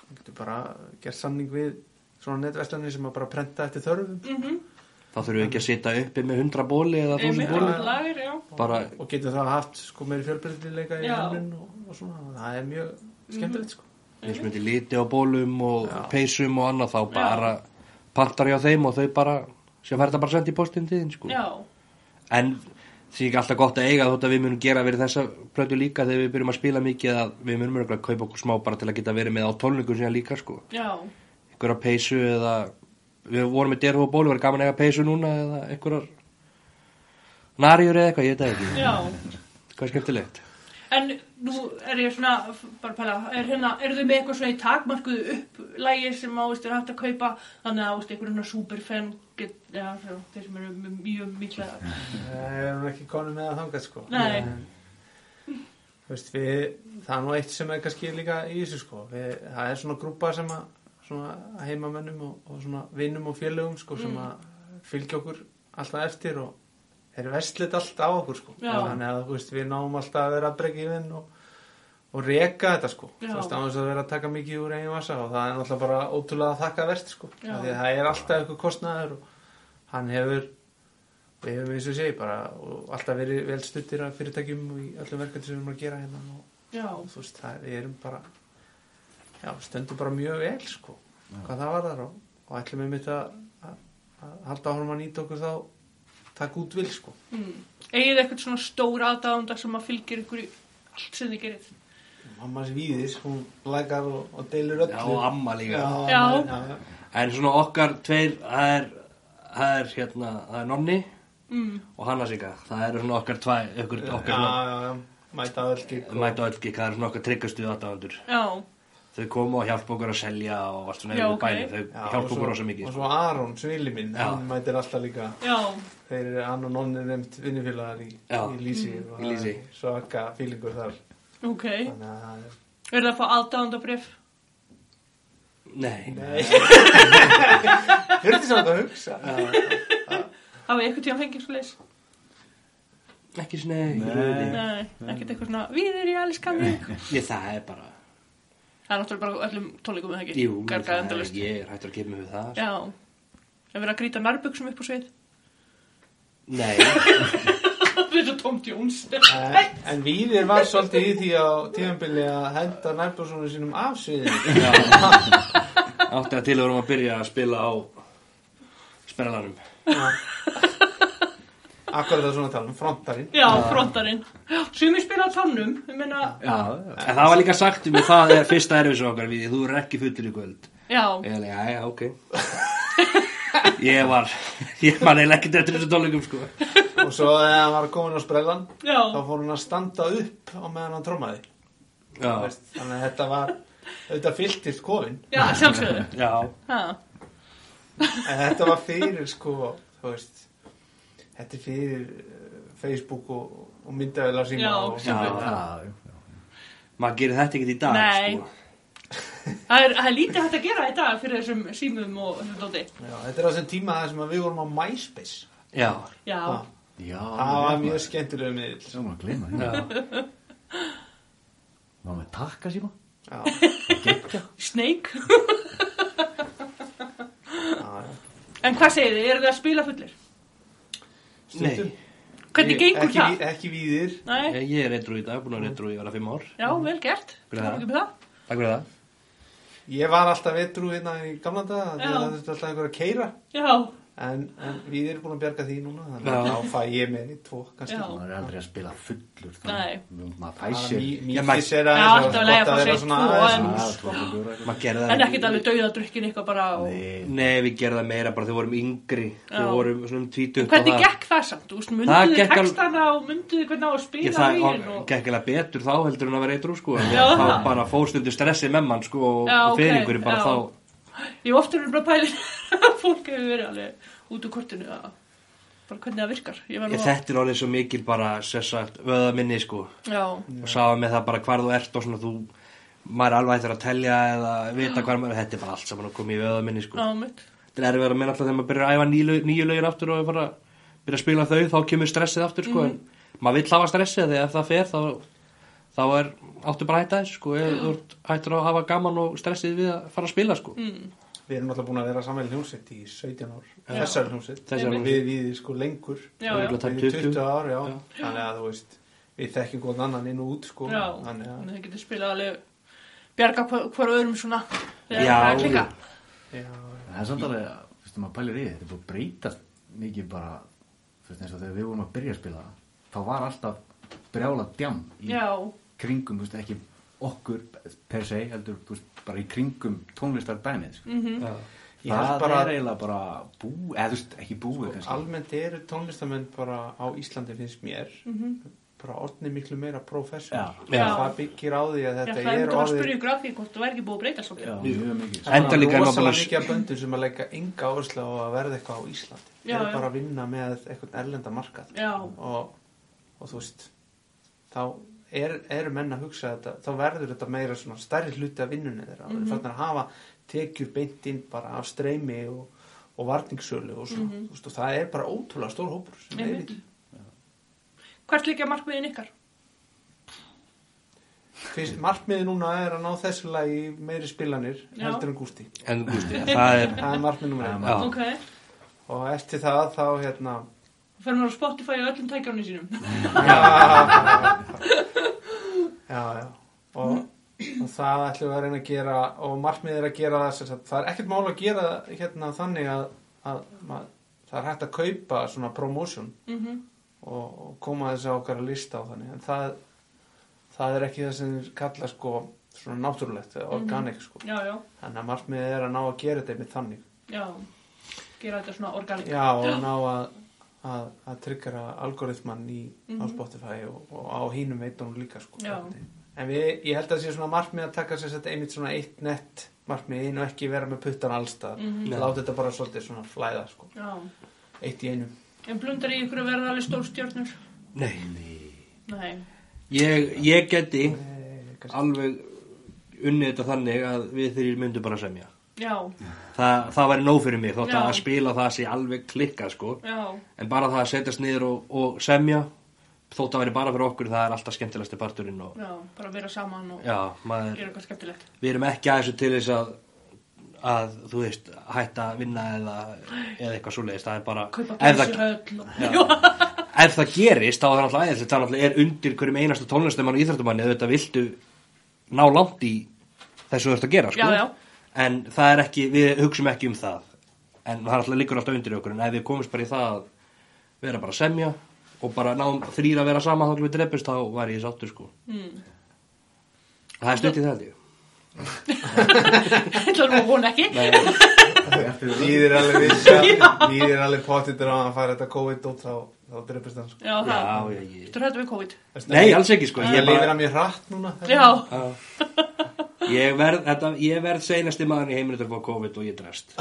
[SPEAKER 3] Maður getur bara gert samning við svona netverslunni sem maður bara prenta eftir þörfum
[SPEAKER 1] Mm
[SPEAKER 4] Þá þurfum við ekki að sitja uppi með 100 bóli eða 1000
[SPEAKER 1] einmitt
[SPEAKER 4] bóli
[SPEAKER 1] allt lager, já
[SPEAKER 4] Bara,
[SPEAKER 3] og getur það haft sko meiri fjölbreytileika í
[SPEAKER 1] Já.
[SPEAKER 3] hönnun og, og svona, það er mjög skemmtilegt sko.
[SPEAKER 4] eins og myndi liti á bólum og
[SPEAKER 3] Já.
[SPEAKER 4] peysum og annað þá bara pantar hjá þeim og þau bara sem fær þetta bara sent í postin til þín sko
[SPEAKER 1] já,
[SPEAKER 4] en því ekki alltaf gott að eiga þótt að við munum gera verið þessa plötu líka þegar við byrjum að spila mikið að við munum örugglega að kaupa okkur smá bara til að geta verið með á tólningum síðan líka sko
[SPEAKER 1] já,
[SPEAKER 4] einhverja peysu eða við vorum með derhú og bólu, verið gaman að eiga peysu núna eða einhverjar narjur eða eitthvað, ég veit það ekki
[SPEAKER 1] já
[SPEAKER 4] hvað er skemmtilegt?
[SPEAKER 1] en nú er ég svona bara að pæla, er hérna, eru þið með eitthvað svona í takmarkuðu upplægi sem á veist, er hægt að kaupa þannig að veist, einhvern svona superfan get, já, svo, þeir sem eru með mjög mikla
[SPEAKER 3] það er nú ekki konum með að þangað sko.
[SPEAKER 1] Mhm. Nei.
[SPEAKER 3] En, þú veist, við, það er nú eitt sem er kannski líka í þessu sko. við, það er svona grúpa sem að svona heimamönnum og, og svona vinnum og félögum sko, sem
[SPEAKER 1] Mm.
[SPEAKER 3] að fylgja okkur alltaf eftir og þeir veslit allt á okkur sko.
[SPEAKER 1] Já.
[SPEAKER 3] þannig að þú veist, við náum alltaf að vera að bregja í vinn og, og reka þetta sko.
[SPEAKER 1] Já.
[SPEAKER 3] þú veist, á þess að vera að taka mikið úr einu vasa og það er náttúrulega bara ótrúlega að þakka verst sko.
[SPEAKER 1] Já.
[SPEAKER 3] Af því að það er alltaf eitthvað kostnaður og hann hefur við hefum eins og segi bara og alltaf verið vel stuttir af fyrirtækjum og í öllum verkefni sem við erum að gera hérna og
[SPEAKER 1] já,
[SPEAKER 3] þú veist, það, við erum bara já, stöndum bara mjög vel sko, hvað það var þar og, og ætlum við mitt að, að, að halda áhrum að nýta okkur þá takk út vil sko
[SPEAKER 1] mm. eigið þið eitthvað svona stór aðdáðanda sem að fylgir ykkur í allt sem þið gerir
[SPEAKER 3] mammas víðis, hún lækar og, og deilur öllu
[SPEAKER 4] Já, og amma líka.
[SPEAKER 1] Já.
[SPEAKER 3] já,
[SPEAKER 4] En svona okkar tveir, það er, það er hérna, það er Nonni
[SPEAKER 1] mm.
[SPEAKER 4] og Hanna Sika. Það eru svona okkar tvær, okkur,
[SPEAKER 3] já,
[SPEAKER 4] okkar svona,
[SPEAKER 3] já, já, mæta öll gikk og-
[SPEAKER 4] mæta öll gikk, það eru svona okkar tryggastu aðdáðandur.
[SPEAKER 1] já,
[SPEAKER 4] Þau komu og hjálpa okkur að selja og allt svona
[SPEAKER 1] Já,
[SPEAKER 4] yfir
[SPEAKER 1] ok.
[SPEAKER 4] bæni, þau
[SPEAKER 3] Já, og
[SPEAKER 4] hjálpa
[SPEAKER 3] svo-
[SPEAKER 4] okkur rosa mikið.
[SPEAKER 3] og
[SPEAKER 4] Svo,
[SPEAKER 3] svo Aron, svili minn,
[SPEAKER 4] Já.
[SPEAKER 3] hann mætir alltaf líka
[SPEAKER 1] já,
[SPEAKER 3] Þeir eru hann og nonni nefnt vinnifélagar í,
[SPEAKER 4] Já. Mm,
[SPEAKER 3] í Lýsi og
[SPEAKER 4] Í
[SPEAKER 3] það
[SPEAKER 4] Lýsi.
[SPEAKER 3] er svaka fílingur þar
[SPEAKER 1] ok eru
[SPEAKER 3] þannig að það er
[SPEAKER 1] þið að fá aðdáðandabrif
[SPEAKER 4] Nei,
[SPEAKER 3] Nei Hörðu samt að hugsa
[SPEAKER 1] hafið eitthvað tíðan fengið svo leys
[SPEAKER 4] ekki svona,
[SPEAKER 2] Nei.
[SPEAKER 1] nei, ekkert eitthvað svona við erum í elska mig
[SPEAKER 4] Ég, það er bara,
[SPEAKER 1] það er náttúrulega bara á öllum tónleikum eða ekki
[SPEAKER 4] jú,
[SPEAKER 1] gargað
[SPEAKER 4] það er,
[SPEAKER 1] endalaust
[SPEAKER 4] ég er hættur að gefa mig við það. sko.
[SPEAKER 1] já, að vera að grýta nærbuksum upp á svið
[SPEAKER 4] Nei,
[SPEAKER 1] það er svo tómt Jóns
[SPEAKER 3] En, en Víðir var svolítið í því á tíðanbili að henda nærbjörnsónu sínum af sviðinu
[SPEAKER 4] já, átti að til að vorum að byrja að spila á spennalanum.
[SPEAKER 3] Akkur það svona tala um frontarinn
[SPEAKER 1] já, frontarinn sumir spila á tannum, ég meina
[SPEAKER 4] Já, en það var líka sagt um mig, það er fyrsta erfis okkar við, þú er ekki fullur í kvöld.
[SPEAKER 1] já,
[SPEAKER 4] Ég alveg, já, já, ok Ég var Ég man eiginlega ekkert eftir þessu tónleikum sko
[SPEAKER 3] og svo þegar hann var komin á sprellan
[SPEAKER 1] já,
[SPEAKER 3] þá fór hann að standa upp á meðan hann trómaði
[SPEAKER 4] Já,
[SPEAKER 3] Veist, þannig að þetta var auðvitað fylltilt kofin
[SPEAKER 1] já, sjálfsögðu
[SPEAKER 4] já,
[SPEAKER 1] Ha,
[SPEAKER 3] En þetta var fyrir sko, þú veist, þetta er fyrir eh, Facebook og, og myndavel á síma
[SPEAKER 1] Já,
[SPEAKER 3] og
[SPEAKER 1] já.
[SPEAKER 2] já, já.
[SPEAKER 4] maður gerir þetta ekkert í dag
[SPEAKER 1] Nei.
[SPEAKER 4] sko.
[SPEAKER 1] Það er, það er lítið hægt að gera í dag fyrir þessum símum og þessum dóti.
[SPEAKER 3] Já, Þetta er á þessum tíma þar sem að við vorum á MySpace.
[SPEAKER 4] Já,
[SPEAKER 1] Já,
[SPEAKER 3] Já,
[SPEAKER 2] Já,
[SPEAKER 3] það var
[SPEAKER 2] ég-
[SPEAKER 3] mjög skemmtilega miðl.
[SPEAKER 2] Ég var að gleyma
[SPEAKER 4] já
[SPEAKER 2] hérna. var með takka síma
[SPEAKER 3] Já,
[SPEAKER 1] Snake
[SPEAKER 3] já, já.
[SPEAKER 1] En hvað segir þið, eru þið að spila fullir?
[SPEAKER 3] Stundum.
[SPEAKER 1] Hvernig gengur
[SPEAKER 3] ekki,
[SPEAKER 1] það?
[SPEAKER 3] ví- Ekki víðir.
[SPEAKER 1] Nei,
[SPEAKER 4] Ég, ég er reyndur í dag, búin að reyndur í vera fimm ár.
[SPEAKER 1] já, vel gert
[SPEAKER 4] Fyrir
[SPEAKER 1] Takk
[SPEAKER 4] það.
[SPEAKER 1] fyrir það
[SPEAKER 4] Takk fyrir það.
[SPEAKER 3] Ég var alltaf vetrú hérna í gamla
[SPEAKER 1] Já.
[SPEAKER 3] daga, þegar það þurfti alltaf einhver að keira.
[SPEAKER 1] Já,
[SPEAKER 3] En, en við erum búin að bjarga því núna, þannig
[SPEAKER 4] Já.
[SPEAKER 3] að þá fæ ég með því tvo, kannski.
[SPEAKER 1] Já.
[SPEAKER 2] maður er aldrei að spila fullur þá
[SPEAKER 1] Nei.
[SPEAKER 2] maður
[SPEAKER 3] Bara
[SPEAKER 2] fæsir
[SPEAKER 3] mí-
[SPEAKER 2] mjög
[SPEAKER 4] Ég
[SPEAKER 3] Mýtis
[SPEAKER 4] mæ-
[SPEAKER 3] er
[SPEAKER 1] Já,
[SPEAKER 3] aðeins
[SPEAKER 1] alltaf í lagi að fá sér tvo, en-
[SPEAKER 2] en
[SPEAKER 4] Maður gerði
[SPEAKER 1] en
[SPEAKER 4] það.
[SPEAKER 1] ekkert alveg dauða drukkin eitthvað bara og...
[SPEAKER 4] Nei, við gerðum það meira bara þegar við vorum yngri.
[SPEAKER 1] Já.
[SPEAKER 4] Þegar við vorum svona um tvítugt.
[SPEAKER 1] Hvernig gekk það samt? Þú veist,
[SPEAKER 4] Það
[SPEAKER 1] munduðu
[SPEAKER 4] gekk alveg-
[SPEAKER 1] textana og munduðu hvernig á að
[SPEAKER 4] Ég,
[SPEAKER 1] spila
[SPEAKER 4] það og,
[SPEAKER 1] lögin og...
[SPEAKER 4] gekk eða betur þá heldur en að vera eitrú sko en
[SPEAKER 1] Já,
[SPEAKER 4] þá
[SPEAKER 1] það.
[SPEAKER 4] bara fór stundu stressið með mann sko og,
[SPEAKER 1] Já,
[SPEAKER 4] og
[SPEAKER 1] ok,
[SPEAKER 4] fyrir bara
[SPEAKER 1] já.
[SPEAKER 4] þá
[SPEAKER 1] Ég ofta er bara pælið að fólk hefur verið alveg út úr kortinu að bara hvernig það virkar. Ég var nú
[SPEAKER 4] ég,
[SPEAKER 1] að...
[SPEAKER 4] þetta er orðið svo mikil bara sessagt vöða minni sko
[SPEAKER 1] Já,
[SPEAKER 4] og sáða með það bara hvar þú ert og svona þú maður er alveg hættur að telja eða vita hvar maður þetta er bara allt saman að koma í vöða minni sko
[SPEAKER 1] á mitt.
[SPEAKER 4] þetta er erfið að minna alltaf þegar maður byrjar að æfa nýju, nýju lögin aftur og bara byrja að spila þau þá kemur stressið aftur
[SPEAKER 1] Mhm.
[SPEAKER 4] sko en maður vill hafa stressið þegar ef það fer þá, þá er áttu bara að hætta þess sko eða þú ert hættur að hafa gaman og stressið við að fara að spila sko
[SPEAKER 1] Mm,
[SPEAKER 3] Við erum alltaf búin að vera saman í hljómsveit í 17 ár. Þessar hljómsveit.
[SPEAKER 4] Þessari
[SPEAKER 3] Og
[SPEAKER 4] hljómsveit.
[SPEAKER 3] Við við sko lengur.
[SPEAKER 1] Já, já.
[SPEAKER 4] Örugglega tæp
[SPEAKER 3] Við
[SPEAKER 4] 20.
[SPEAKER 3] 20 ár, já. Þannig að þú veist, við þekkjum góðan annan inn og út, sko.
[SPEAKER 1] Já,
[SPEAKER 3] Þannig
[SPEAKER 1] en
[SPEAKER 3] að,
[SPEAKER 1] það getur spilað alveg bjarga hver, hver öðrum svona þegar
[SPEAKER 4] Já.
[SPEAKER 1] það er að klikka.
[SPEAKER 3] já,
[SPEAKER 2] það er samt alveg þú veist, maður pælir í því, þetta er búið að breytast mikið bara þú veist, eins og þegar við vorum að byrja að spila þá var alltaf brjála djam í
[SPEAKER 1] Já,
[SPEAKER 2] kringum, þú veist, ekki okkur per se, heldur, þú veist, bara í kringum tónlistar dæmið, sko.
[SPEAKER 1] Mhm.
[SPEAKER 4] Já.
[SPEAKER 3] Ég
[SPEAKER 2] það
[SPEAKER 3] held bara-
[SPEAKER 2] er eiginlega bara búið, eða þú veist, ekki búið
[SPEAKER 3] sko,
[SPEAKER 2] kannski,
[SPEAKER 3] almennt eru tónlistamenn bara á Íslandi finnst mér. Bara orðni miklu meira professional.
[SPEAKER 1] Mhm. Já. Já.
[SPEAKER 3] Það byggir á því að
[SPEAKER 1] ég
[SPEAKER 3] þetta
[SPEAKER 1] ætlaði
[SPEAKER 3] er
[SPEAKER 1] endur að
[SPEAKER 3] orðið
[SPEAKER 1] spyrja ykkur að því hvort þú væri ekki búið að breyta svolítið.
[SPEAKER 2] já, mjög mikið
[SPEAKER 4] Enda
[SPEAKER 3] Það er
[SPEAKER 4] líka er maður
[SPEAKER 3] rosalega
[SPEAKER 4] búin að-
[SPEAKER 3] mikið af böndum sem að leggja enga áherslu á að verða eitthvað á Íslandi
[SPEAKER 1] Já,
[SPEAKER 3] þeir eru
[SPEAKER 1] já.
[SPEAKER 3] bara að vinna með eitthvað erlenda markað
[SPEAKER 1] Já.
[SPEAKER 3] og, og þú veist þá er, eru menn að hugsa þetta þá verður þetta meira svona stærri hluti af vinnunni þeirra mm -hmm.
[SPEAKER 1] Mhm.
[SPEAKER 3] þannig að hafa tekjur beint inn bara af streymi og, og varningssölu og, svona, þú veist, og það er bara ótrúlega stór hópur sem er
[SPEAKER 1] Mhm. Einmitt.
[SPEAKER 3] við
[SPEAKER 1] Hvert líka markmiðin ykkar?
[SPEAKER 3] fyrst markmiði núna er að ná þessu lagi meiri spilanir
[SPEAKER 1] Já.
[SPEAKER 3] heldur en gústi
[SPEAKER 4] en þú veist, það er
[SPEAKER 3] það er markmið nummer einn
[SPEAKER 4] Já.
[SPEAKER 1] Ok,
[SPEAKER 3] og eftir það þá hérna
[SPEAKER 1] fyrir maður á Spotify og öllum tækjónu sínum.
[SPEAKER 3] já, já, já. Og, og það ætlum við að reyna að gera og markmiðið er að gera það sem sagt, það er ekkert mál að gera hérna þannig að, að mað, það er hægt að kaupa svona promotion
[SPEAKER 1] Mhm.
[SPEAKER 3] og, og koma þessi á okkar lista á þannig en það, það er ekki það sem þeir kalla sko svona náttúrulegt eða organic sko
[SPEAKER 1] Já, já,
[SPEAKER 3] þannig að markmiðið er að ná að gera þetta með þannig
[SPEAKER 1] já. Gera þetta svona organik.
[SPEAKER 3] já og ná að að, að tryggjara algoritmann í á Spotify og, og á hínum veitunum líka sko
[SPEAKER 1] Já.
[SPEAKER 3] en við, ég held að sé svona markmið að taka sér þetta einmitt svona eitt nett markmið inn og ekki vera með puttan allstað mm
[SPEAKER 4] Já.
[SPEAKER 3] láta þetta bara svolítið svona flæða sko
[SPEAKER 1] Já.
[SPEAKER 3] eitt í einu
[SPEAKER 1] En blundar í ykkur að verða alveg stórstjörnur?
[SPEAKER 4] Nei,
[SPEAKER 1] Nei.
[SPEAKER 4] ég, ég geti
[SPEAKER 3] Eh, kannski-
[SPEAKER 4] alveg unnið þetta þannig að við þrýr myndum bara semja
[SPEAKER 1] Já,
[SPEAKER 4] Þa, það væri nóg fyrir mig, þótt
[SPEAKER 1] Já.
[SPEAKER 4] að spila það sé alveg klikkað sko
[SPEAKER 1] já.
[SPEAKER 4] en bara það að setjast niður og, og semja þótt að væri bara fyrir okkur, það er alltaf skemmtilegasti parturinn og
[SPEAKER 1] Já, bara vera saman og
[SPEAKER 4] já, maður,
[SPEAKER 1] gera eitthvað skemmtilegt.
[SPEAKER 4] við erum ekki aðeins til þess að, að þú veist, hætta að vinna eða, eða eitthvað svoleiðist, það er bara
[SPEAKER 1] Kaupa
[SPEAKER 4] ef það-
[SPEAKER 1] dansi höll og... Já.
[SPEAKER 4] ef það gerist þá er það alltaf æðislegt það náttúrulega um er undir hverjum einasta tónlistamann og íþrættumanni auðvitað viltu ná langt í þessu þú ert að gera sko.
[SPEAKER 1] Já, já.
[SPEAKER 4] en það er ekki, við hugsum ekki um það en það er alltaf liggur alltaf undir okkur en ef við komumst bara í það að vera bara að semja og bara náum þrýra að vera sama þá til við drefumst þá var ég sáttur sko.
[SPEAKER 1] Mm.
[SPEAKER 4] það er stutt í það held ég.
[SPEAKER 1] Það er hún ekki.
[SPEAKER 3] Líðir alveg vissja Líðir alveg pottitur á að hann fara þetta COVID út þá, þá drefist hann sko
[SPEAKER 1] Já,
[SPEAKER 4] já,
[SPEAKER 1] það.
[SPEAKER 4] já, ég...
[SPEAKER 1] Þú rættu við COVID.
[SPEAKER 4] nei, alls ekki sko.
[SPEAKER 3] Ég
[SPEAKER 4] ég,
[SPEAKER 3] lifir
[SPEAKER 4] bara,
[SPEAKER 3] hann mjög hratt núna
[SPEAKER 1] Já,
[SPEAKER 4] ég, verð, þetta, ég verð seinasti maður í heiminu til að fá COVID og ég drefst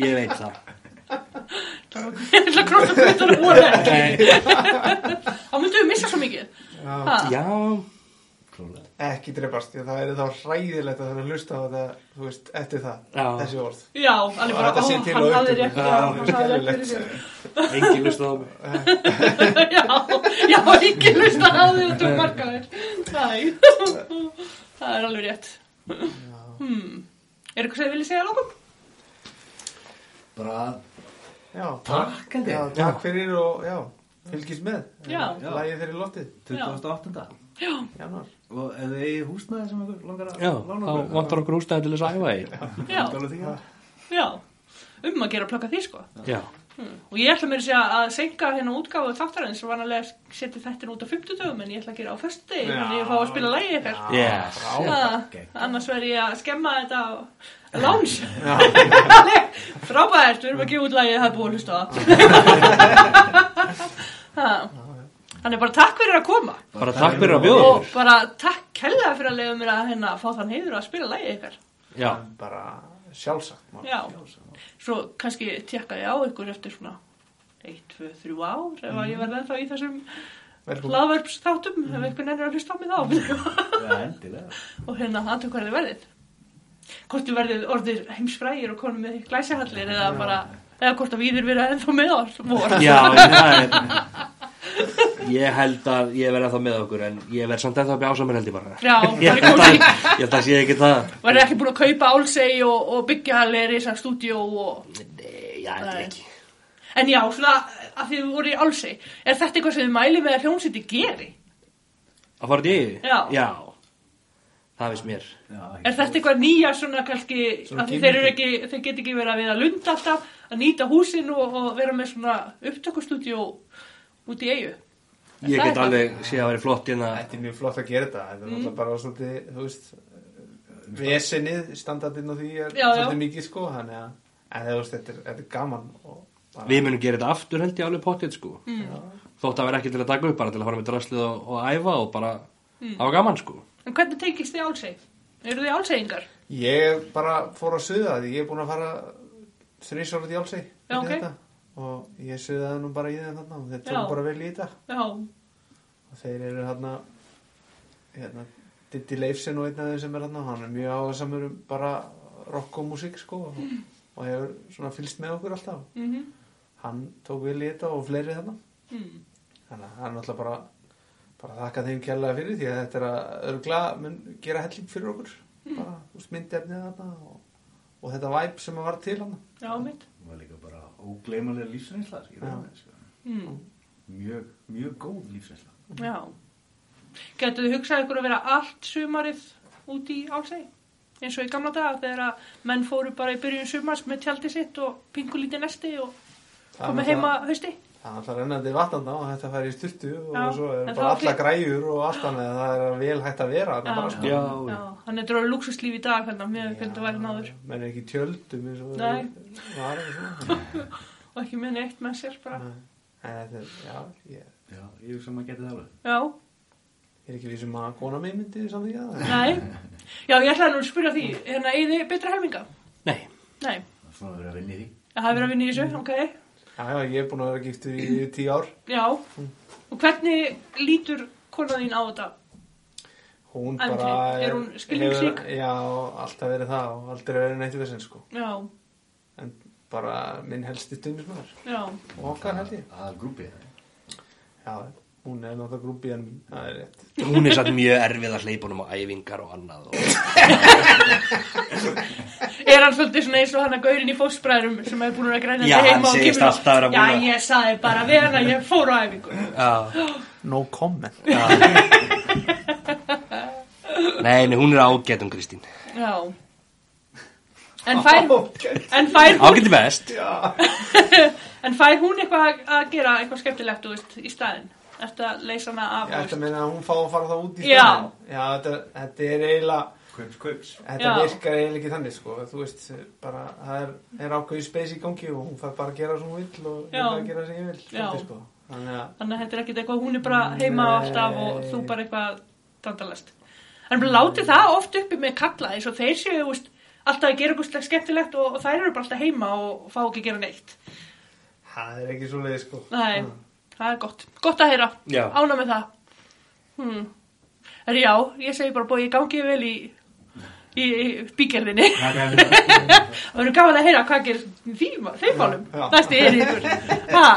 [SPEAKER 4] ég veit það
[SPEAKER 1] ég ætla að krossa COVID og hún ekki.
[SPEAKER 4] Nei.
[SPEAKER 1] Þá myndum við missa svo mikið.
[SPEAKER 3] Já.
[SPEAKER 1] Ha?
[SPEAKER 4] já
[SPEAKER 2] klólega
[SPEAKER 3] ekki drefast því að það er þá hræðilegt að það er að hlusta á þetta, þú veist, eftir það
[SPEAKER 4] Já.
[SPEAKER 3] þessi orð
[SPEAKER 1] Já, alveg bara,
[SPEAKER 3] Þetta
[SPEAKER 1] ó,
[SPEAKER 3] sé til á
[SPEAKER 1] hann hafði rétt
[SPEAKER 3] upptöku. Já,
[SPEAKER 1] já, hann
[SPEAKER 3] þetta er
[SPEAKER 1] hafði rétt fyrir
[SPEAKER 3] skelfilegt.
[SPEAKER 1] sér
[SPEAKER 4] Engi hlust á mig
[SPEAKER 1] Já, já, ekki lust að hafði út um markaðir Nei Það er alveg rétt hmm. Er eitthvað sem þið viljið segja að lókum?
[SPEAKER 2] Bara
[SPEAKER 3] já,
[SPEAKER 2] takk held
[SPEAKER 3] já,
[SPEAKER 2] ég.
[SPEAKER 3] takk fyrir og já, fylgist með
[SPEAKER 1] Já.
[SPEAKER 3] lægið þeirri lottið,
[SPEAKER 2] 28.
[SPEAKER 3] januar
[SPEAKER 2] Og ef þið eigið húsnaði sem ykkur langar að
[SPEAKER 4] Já,
[SPEAKER 2] lána
[SPEAKER 4] þá vantar okkur hústæði til þess að æfa í
[SPEAKER 1] Já,
[SPEAKER 2] Vantar alveg því að-
[SPEAKER 1] já Um að gera að plaka því sko
[SPEAKER 4] Já,
[SPEAKER 1] hmm. Og ég ætla mér að segja að senka hérna útgáfu þáttarins og vanalega setja þetta út á 50 dögum en ég ætla að gera á föstu degi
[SPEAKER 3] Já.
[SPEAKER 1] en ég fá að spila lægi ykkar
[SPEAKER 4] Yes.
[SPEAKER 1] Ah,
[SPEAKER 2] ok.
[SPEAKER 1] annars verð ég að skemma þetta á lounge
[SPEAKER 3] Já.
[SPEAKER 1] frábært, við erum að gefa út lagið það er búið að hlusta á það þannig bara takk fyrir að koma
[SPEAKER 4] bara takk fyrir að bjóða
[SPEAKER 1] og
[SPEAKER 4] okkur
[SPEAKER 1] bara takk kella fyrir að leiða mér að hérna, fá þann heiður að spila lagið ykkar
[SPEAKER 4] Já,
[SPEAKER 3] bara sjálfsagt mál.
[SPEAKER 1] Já. svo kannski tjekka ég á ykkur eftir svona 1, 2, 3 ár ef að ég verði ennþá í þessum
[SPEAKER 3] velkomin,
[SPEAKER 1] hlaðverpsþáttum ef einhvern ennur að hlusta á mig þá
[SPEAKER 2] Já, endilega.
[SPEAKER 1] og hérna aðtöku hvað þið verðið hvort þið verðið orðir heimsfrægir og konum með glæsihallir eða bara eða hvort að við erum verið ennþá með oss vor
[SPEAKER 4] já, það er Ég held að ég verði ennþá með okkur en ég verði samt ennþá að bjása mér held ég bara
[SPEAKER 1] Já, það
[SPEAKER 4] Ég
[SPEAKER 1] er
[SPEAKER 4] held
[SPEAKER 1] komið
[SPEAKER 4] að, ég held að sé ekki það
[SPEAKER 1] Var ekki búin að kaupa álsegi og, og byggja allir í þessar stúdíó og...
[SPEAKER 4] Nei, já, held ég ekki
[SPEAKER 1] En já, svona að þið voru í álsegi Er þetta eitthvað sem þið mæli með að hljómsýtti geri?
[SPEAKER 4] Að fara til ég?
[SPEAKER 1] Já.
[SPEAKER 4] Það veist mér
[SPEAKER 2] Já,
[SPEAKER 1] Er þetta eitthvað nýja svona kannski
[SPEAKER 3] Svona
[SPEAKER 1] að því
[SPEAKER 3] gimmick.
[SPEAKER 1] þeir, eru ekki, þeir get ekki verið að vera að lunda alltaf að nýta húsin og, og vera með svona upptökustúdíó út í eigu?
[SPEAKER 4] Ég
[SPEAKER 1] það
[SPEAKER 4] get
[SPEAKER 1] eitthvað?
[SPEAKER 4] alveg sé að vera flott hérna
[SPEAKER 3] þetta er mjög flott að gera þetta þetta
[SPEAKER 1] Mm.
[SPEAKER 3] er náttúrulega bara svolítið, þú veist vesenið, standardinn og því er
[SPEAKER 1] Já, já.
[SPEAKER 3] svolítið mikið sko þannig að, en þú veist, þetta er, þetta er gaman og bara,
[SPEAKER 4] Við munum gera þetta aftur held ég alveg pottið sko
[SPEAKER 1] Mm.
[SPEAKER 4] Þótt að vera ekki til að taka upp bara til að fara með draslið og, og æfa og bara
[SPEAKER 1] Mm.
[SPEAKER 4] hafa gaman sko
[SPEAKER 1] En hvernig tengist þið álsegi? Eru þið álsegingar?
[SPEAKER 3] Ég bara fór að suða því ég er búin að fara þrís orðið í álseg
[SPEAKER 1] Já, ok.
[SPEAKER 3] og ég suðaði nú bara í þeim þarna og þeir
[SPEAKER 1] Já.
[SPEAKER 3] tókum bara vel í þetta
[SPEAKER 1] Já,
[SPEAKER 3] og þeir eru þarna hérna, Diddy Leifsen og einn af þeim sem er þarna hann er mjög áhersamur um bara rock og músík sko og, og hefur svona fylst með okkur alltaf
[SPEAKER 1] mhm,
[SPEAKER 3] hann tók vel í þetta og fleiri þarna
[SPEAKER 1] mm.
[SPEAKER 3] þannig að hann alltaf bara bara þakka þeim kjærlega fyrir því að þetta er að örgla mun gera helling fyrir okkur bara
[SPEAKER 1] Mm.
[SPEAKER 3] úst myndefnið þarna og, og þetta væp sem að var til hann
[SPEAKER 1] já, mitt.
[SPEAKER 2] Það var líka bara ógleymanlega lífsreynsla í rauninni, sko.
[SPEAKER 1] Mm.
[SPEAKER 2] Mjög, mjög góð lífsreynsla.
[SPEAKER 1] Já. Getur þið hugsað ykkur að vera allt sumarið út í álsegi? Eins og í gamla daga þegar að menn fóru bara í byrjun sumars með tjaldi sitt og pingulítið nesti og
[SPEAKER 3] Það er
[SPEAKER 1] komu
[SPEAKER 3] náttúrulega-
[SPEAKER 1] heima hausti.
[SPEAKER 3] það er alltaf rennandi vatnanda og þetta fær í styrtu og
[SPEAKER 1] Já,
[SPEAKER 3] svo
[SPEAKER 1] en
[SPEAKER 3] er
[SPEAKER 1] það
[SPEAKER 3] bara
[SPEAKER 1] var
[SPEAKER 3] alla
[SPEAKER 1] fínt.
[SPEAKER 3] græjur og allt annað það er vel hægt að vera
[SPEAKER 1] Já.
[SPEAKER 3] þarna bara sko
[SPEAKER 4] Já,
[SPEAKER 1] Já, þannig að þetta eru luxuslíf í dag hvernig að mér hvernig að vera náður
[SPEAKER 3] menn er ekki í tjöldum eins og
[SPEAKER 1] Nei.
[SPEAKER 3] var og svona
[SPEAKER 1] og ekki með neitt með sér bara.
[SPEAKER 3] Nei. en þetta er, já, ég
[SPEAKER 2] Já, ég hugsa að maður getið það alveg.
[SPEAKER 1] Já,
[SPEAKER 3] ég er ekki vissum að kona mig myndi samþýkja það
[SPEAKER 1] nei. Já, ég ætlaði nú að spyrja því, hérna, eigið þið betra helminga?
[SPEAKER 4] Nei,
[SPEAKER 1] Nei,
[SPEAKER 2] Það er svona að vera að vinna í því.
[SPEAKER 1] það hefur verið að vinna í þessu, ok.
[SPEAKER 3] já, já, ég er búin að vera giftur í tíu ár
[SPEAKER 1] Já, og hvernig lítur konan þín á þetta?
[SPEAKER 3] hún
[SPEAKER 1] En
[SPEAKER 3] bara
[SPEAKER 1] er- er hún skilningsrík?
[SPEAKER 3] hefur- já, alltaf verið það og aldrei verið neitt við sem sko
[SPEAKER 1] Já,
[SPEAKER 3] en bara minn helsti stundismar
[SPEAKER 1] já,
[SPEAKER 3] og okkar held ég
[SPEAKER 2] Það er grúpið það.
[SPEAKER 3] já, hún er náttúrulega grúpið en mín það er rétt
[SPEAKER 4] hún er satt mjög erfið að hleypa honum á æfingar og annað og...
[SPEAKER 1] Er hann svolítið svona eins og hann að gaurin í fósbræðurum sem hefur búin að græna
[SPEAKER 4] Já,
[SPEAKER 1] þetta
[SPEAKER 4] hann
[SPEAKER 1] heima og
[SPEAKER 4] segist
[SPEAKER 1] kemur og-
[SPEAKER 4] alltaf vera búin að-
[SPEAKER 1] Já, ég saði bara við hann að ég fór á æfingu
[SPEAKER 4] Já,
[SPEAKER 3] no comment
[SPEAKER 4] já Nei, nei, hún er ágætum Kristín
[SPEAKER 1] Já En fær, en fær, hún,
[SPEAKER 4] Ágætum best
[SPEAKER 1] en fær hún eitthvað að- að gera eitthvað skemmtilegt, þú veist, í staðinn? Ertu að leysa hana af,
[SPEAKER 3] ég ætla að meina að hún fá að fara það út í
[SPEAKER 1] Já.
[SPEAKER 3] staðinn. já þetta, þetta er eiginlega
[SPEAKER 2] Kaups, kaups.
[SPEAKER 3] þetta
[SPEAKER 1] Já.
[SPEAKER 3] virkar eiginlega ekki þannig sko þú veist, bara það er, er ákveðið space í gangi og hún fær bara að gera sem hún vill og
[SPEAKER 1] Já.
[SPEAKER 3] ég fær að gera sem ég vil
[SPEAKER 1] Já.
[SPEAKER 3] svolítið, sko. þannig að
[SPEAKER 1] Þannig að þetta er ekkit eitthvað, hún er bara heima alltaf og
[SPEAKER 3] Nei.
[SPEAKER 1] þú bara eitthvað dandalast. En bara láti það oft uppi með kalla eins og þeir séu, þú veist, alltaf að gera eitthvað skemmtilegt og, og þær eru bara alltaf heima og fá ekki að gera neitt.
[SPEAKER 3] það er ekki svo leið sko
[SPEAKER 1] Nei, það er gott. Gott að heyra.
[SPEAKER 4] Já.
[SPEAKER 1] Ána með það. Hmm. En já, ég segi bara bóið, ég gangi vel í, í, í bígerðinni. Það verður gaman að heyra hvað gerir þeim, þeim málum.
[SPEAKER 3] Já.
[SPEAKER 1] Næsti er ykkur. Ha,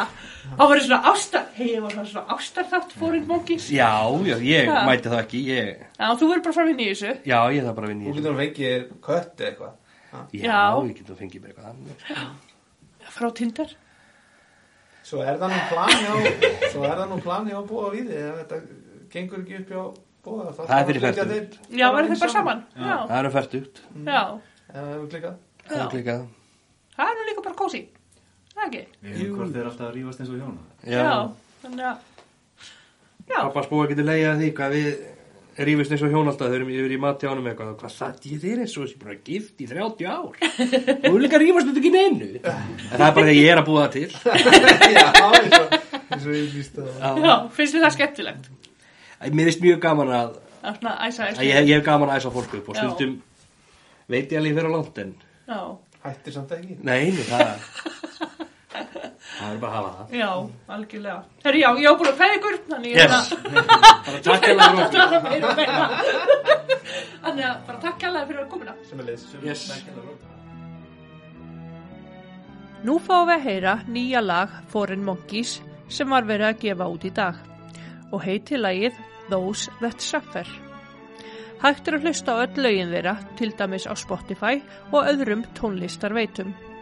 [SPEAKER 1] það verður svona ástar, hei, ég var svona ástarþátt fóring mongins. Já,
[SPEAKER 4] Já, já, ég
[SPEAKER 1] Ha.
[SPEAKER 4] mæti það ekki ég,
[SPEAKER 1] þú verður bara fram í nýju þessu.
[SPEAKER 4] Já, ég það bara vinn
[SPEAKER 3] Þú
[SPEAKER 4] í hérna.
[SPEAKER 3] getur að fengi kött eða eitthvað. Ha.
[SPEAKER 4] Já,
[SPEAKER 1] Já.
[SPEAKER 4] ég getur að fengið mér eitthvað annað.
[SPEAKER 1] Frá Tinder.
[SPEAKER 3] Svo er það nú plani á, svo er það nú plani á að búa við þið. Ef þetta gengur ekki upp hjá búa þá.
[SPEAKER 4] Það er fyrir
[SPEAKER 3] flytja
[SPEAKER 4] fertugt.
[SPEAKER 3] þeir-
[SPEAKER 1] Já, verður þau bara saman.
[SPEAKER 4] Það
[SPEAKER 1] Já,
[SPEAKER 4] eru fært út
[SPEAKER 1] já.
[SPEAKER 3] Ef það hefur klikkað.
[SPEAKER 4] Það
[SPEAKER 1] Já.
[SPEAKER 4] er klikkað
[SPEAKER 1] Það er nú líka bara kósi. Það ekki.
[SPEAKER 2] Við erum hvort þeir alltaf að rífast eins og hjóna.
[SPEAKER 1] Já, þannig að, já.
[SPEAKER 4] Pappas búa getur leiðið að því hvað við rífist eins og hjólaldar þau erum yfir í mati ánum eitthvað hvað það ég þeir eins og þessi bara gift í 30 ár þú eru líka að rífast þetta ekki í neinu en það er bara þegar ég er að búa það til
[SPEAKER 3] Já, eins og, eins og ég líst að það.
[SPEAKER 1] Já, finnst þið það skemmtilegt?
[SPEAKER 4] Æ, mér finnst mjög gaman að,
[SPEAKER 1] Að svona æsa
[SPEAKER 4] að
[SPEAKER 1] æsa.
[SPEAKER 4] ég, ég hef gaman að æsa fólk upp og
[SPEAKER 1] Já.
[SPEAKER 4] stundum veit ég alveg vera langt en
[SPEAKER 1] Já,
[SPEAKER 3] Hættir samt ekki.
[SPEAKER 4] nei, nei, það það er bara að hafa það
[SPEAKER 1] já, algjörlega. Herri, já, ég á búin að fæða ykkur, þannig ég
[SPEAKER 4] yes, bara
[SPEAKER 1] Ég
[SPEAKER 4] takk hérna
[SPEAKER 1] er
[SPEAKER 4] fyrir
[SPEAKER 1] aftur að það meira og meira. Þannig að bara takk alveg fyrir að komina.
[SPEAKER 3] Sem er leys.
[SPEAKER 4] okkur. yes.
[SPEAKER 1] Nú fáum við að heyra nýja lag Foreign Monkeys sem var verið að gefa út í dag og heiti lagið Those That Suffer. Hægt er að hlusta á öll lögin þeirra, til dæmis á Spotify og öðrum tónlistarveitum.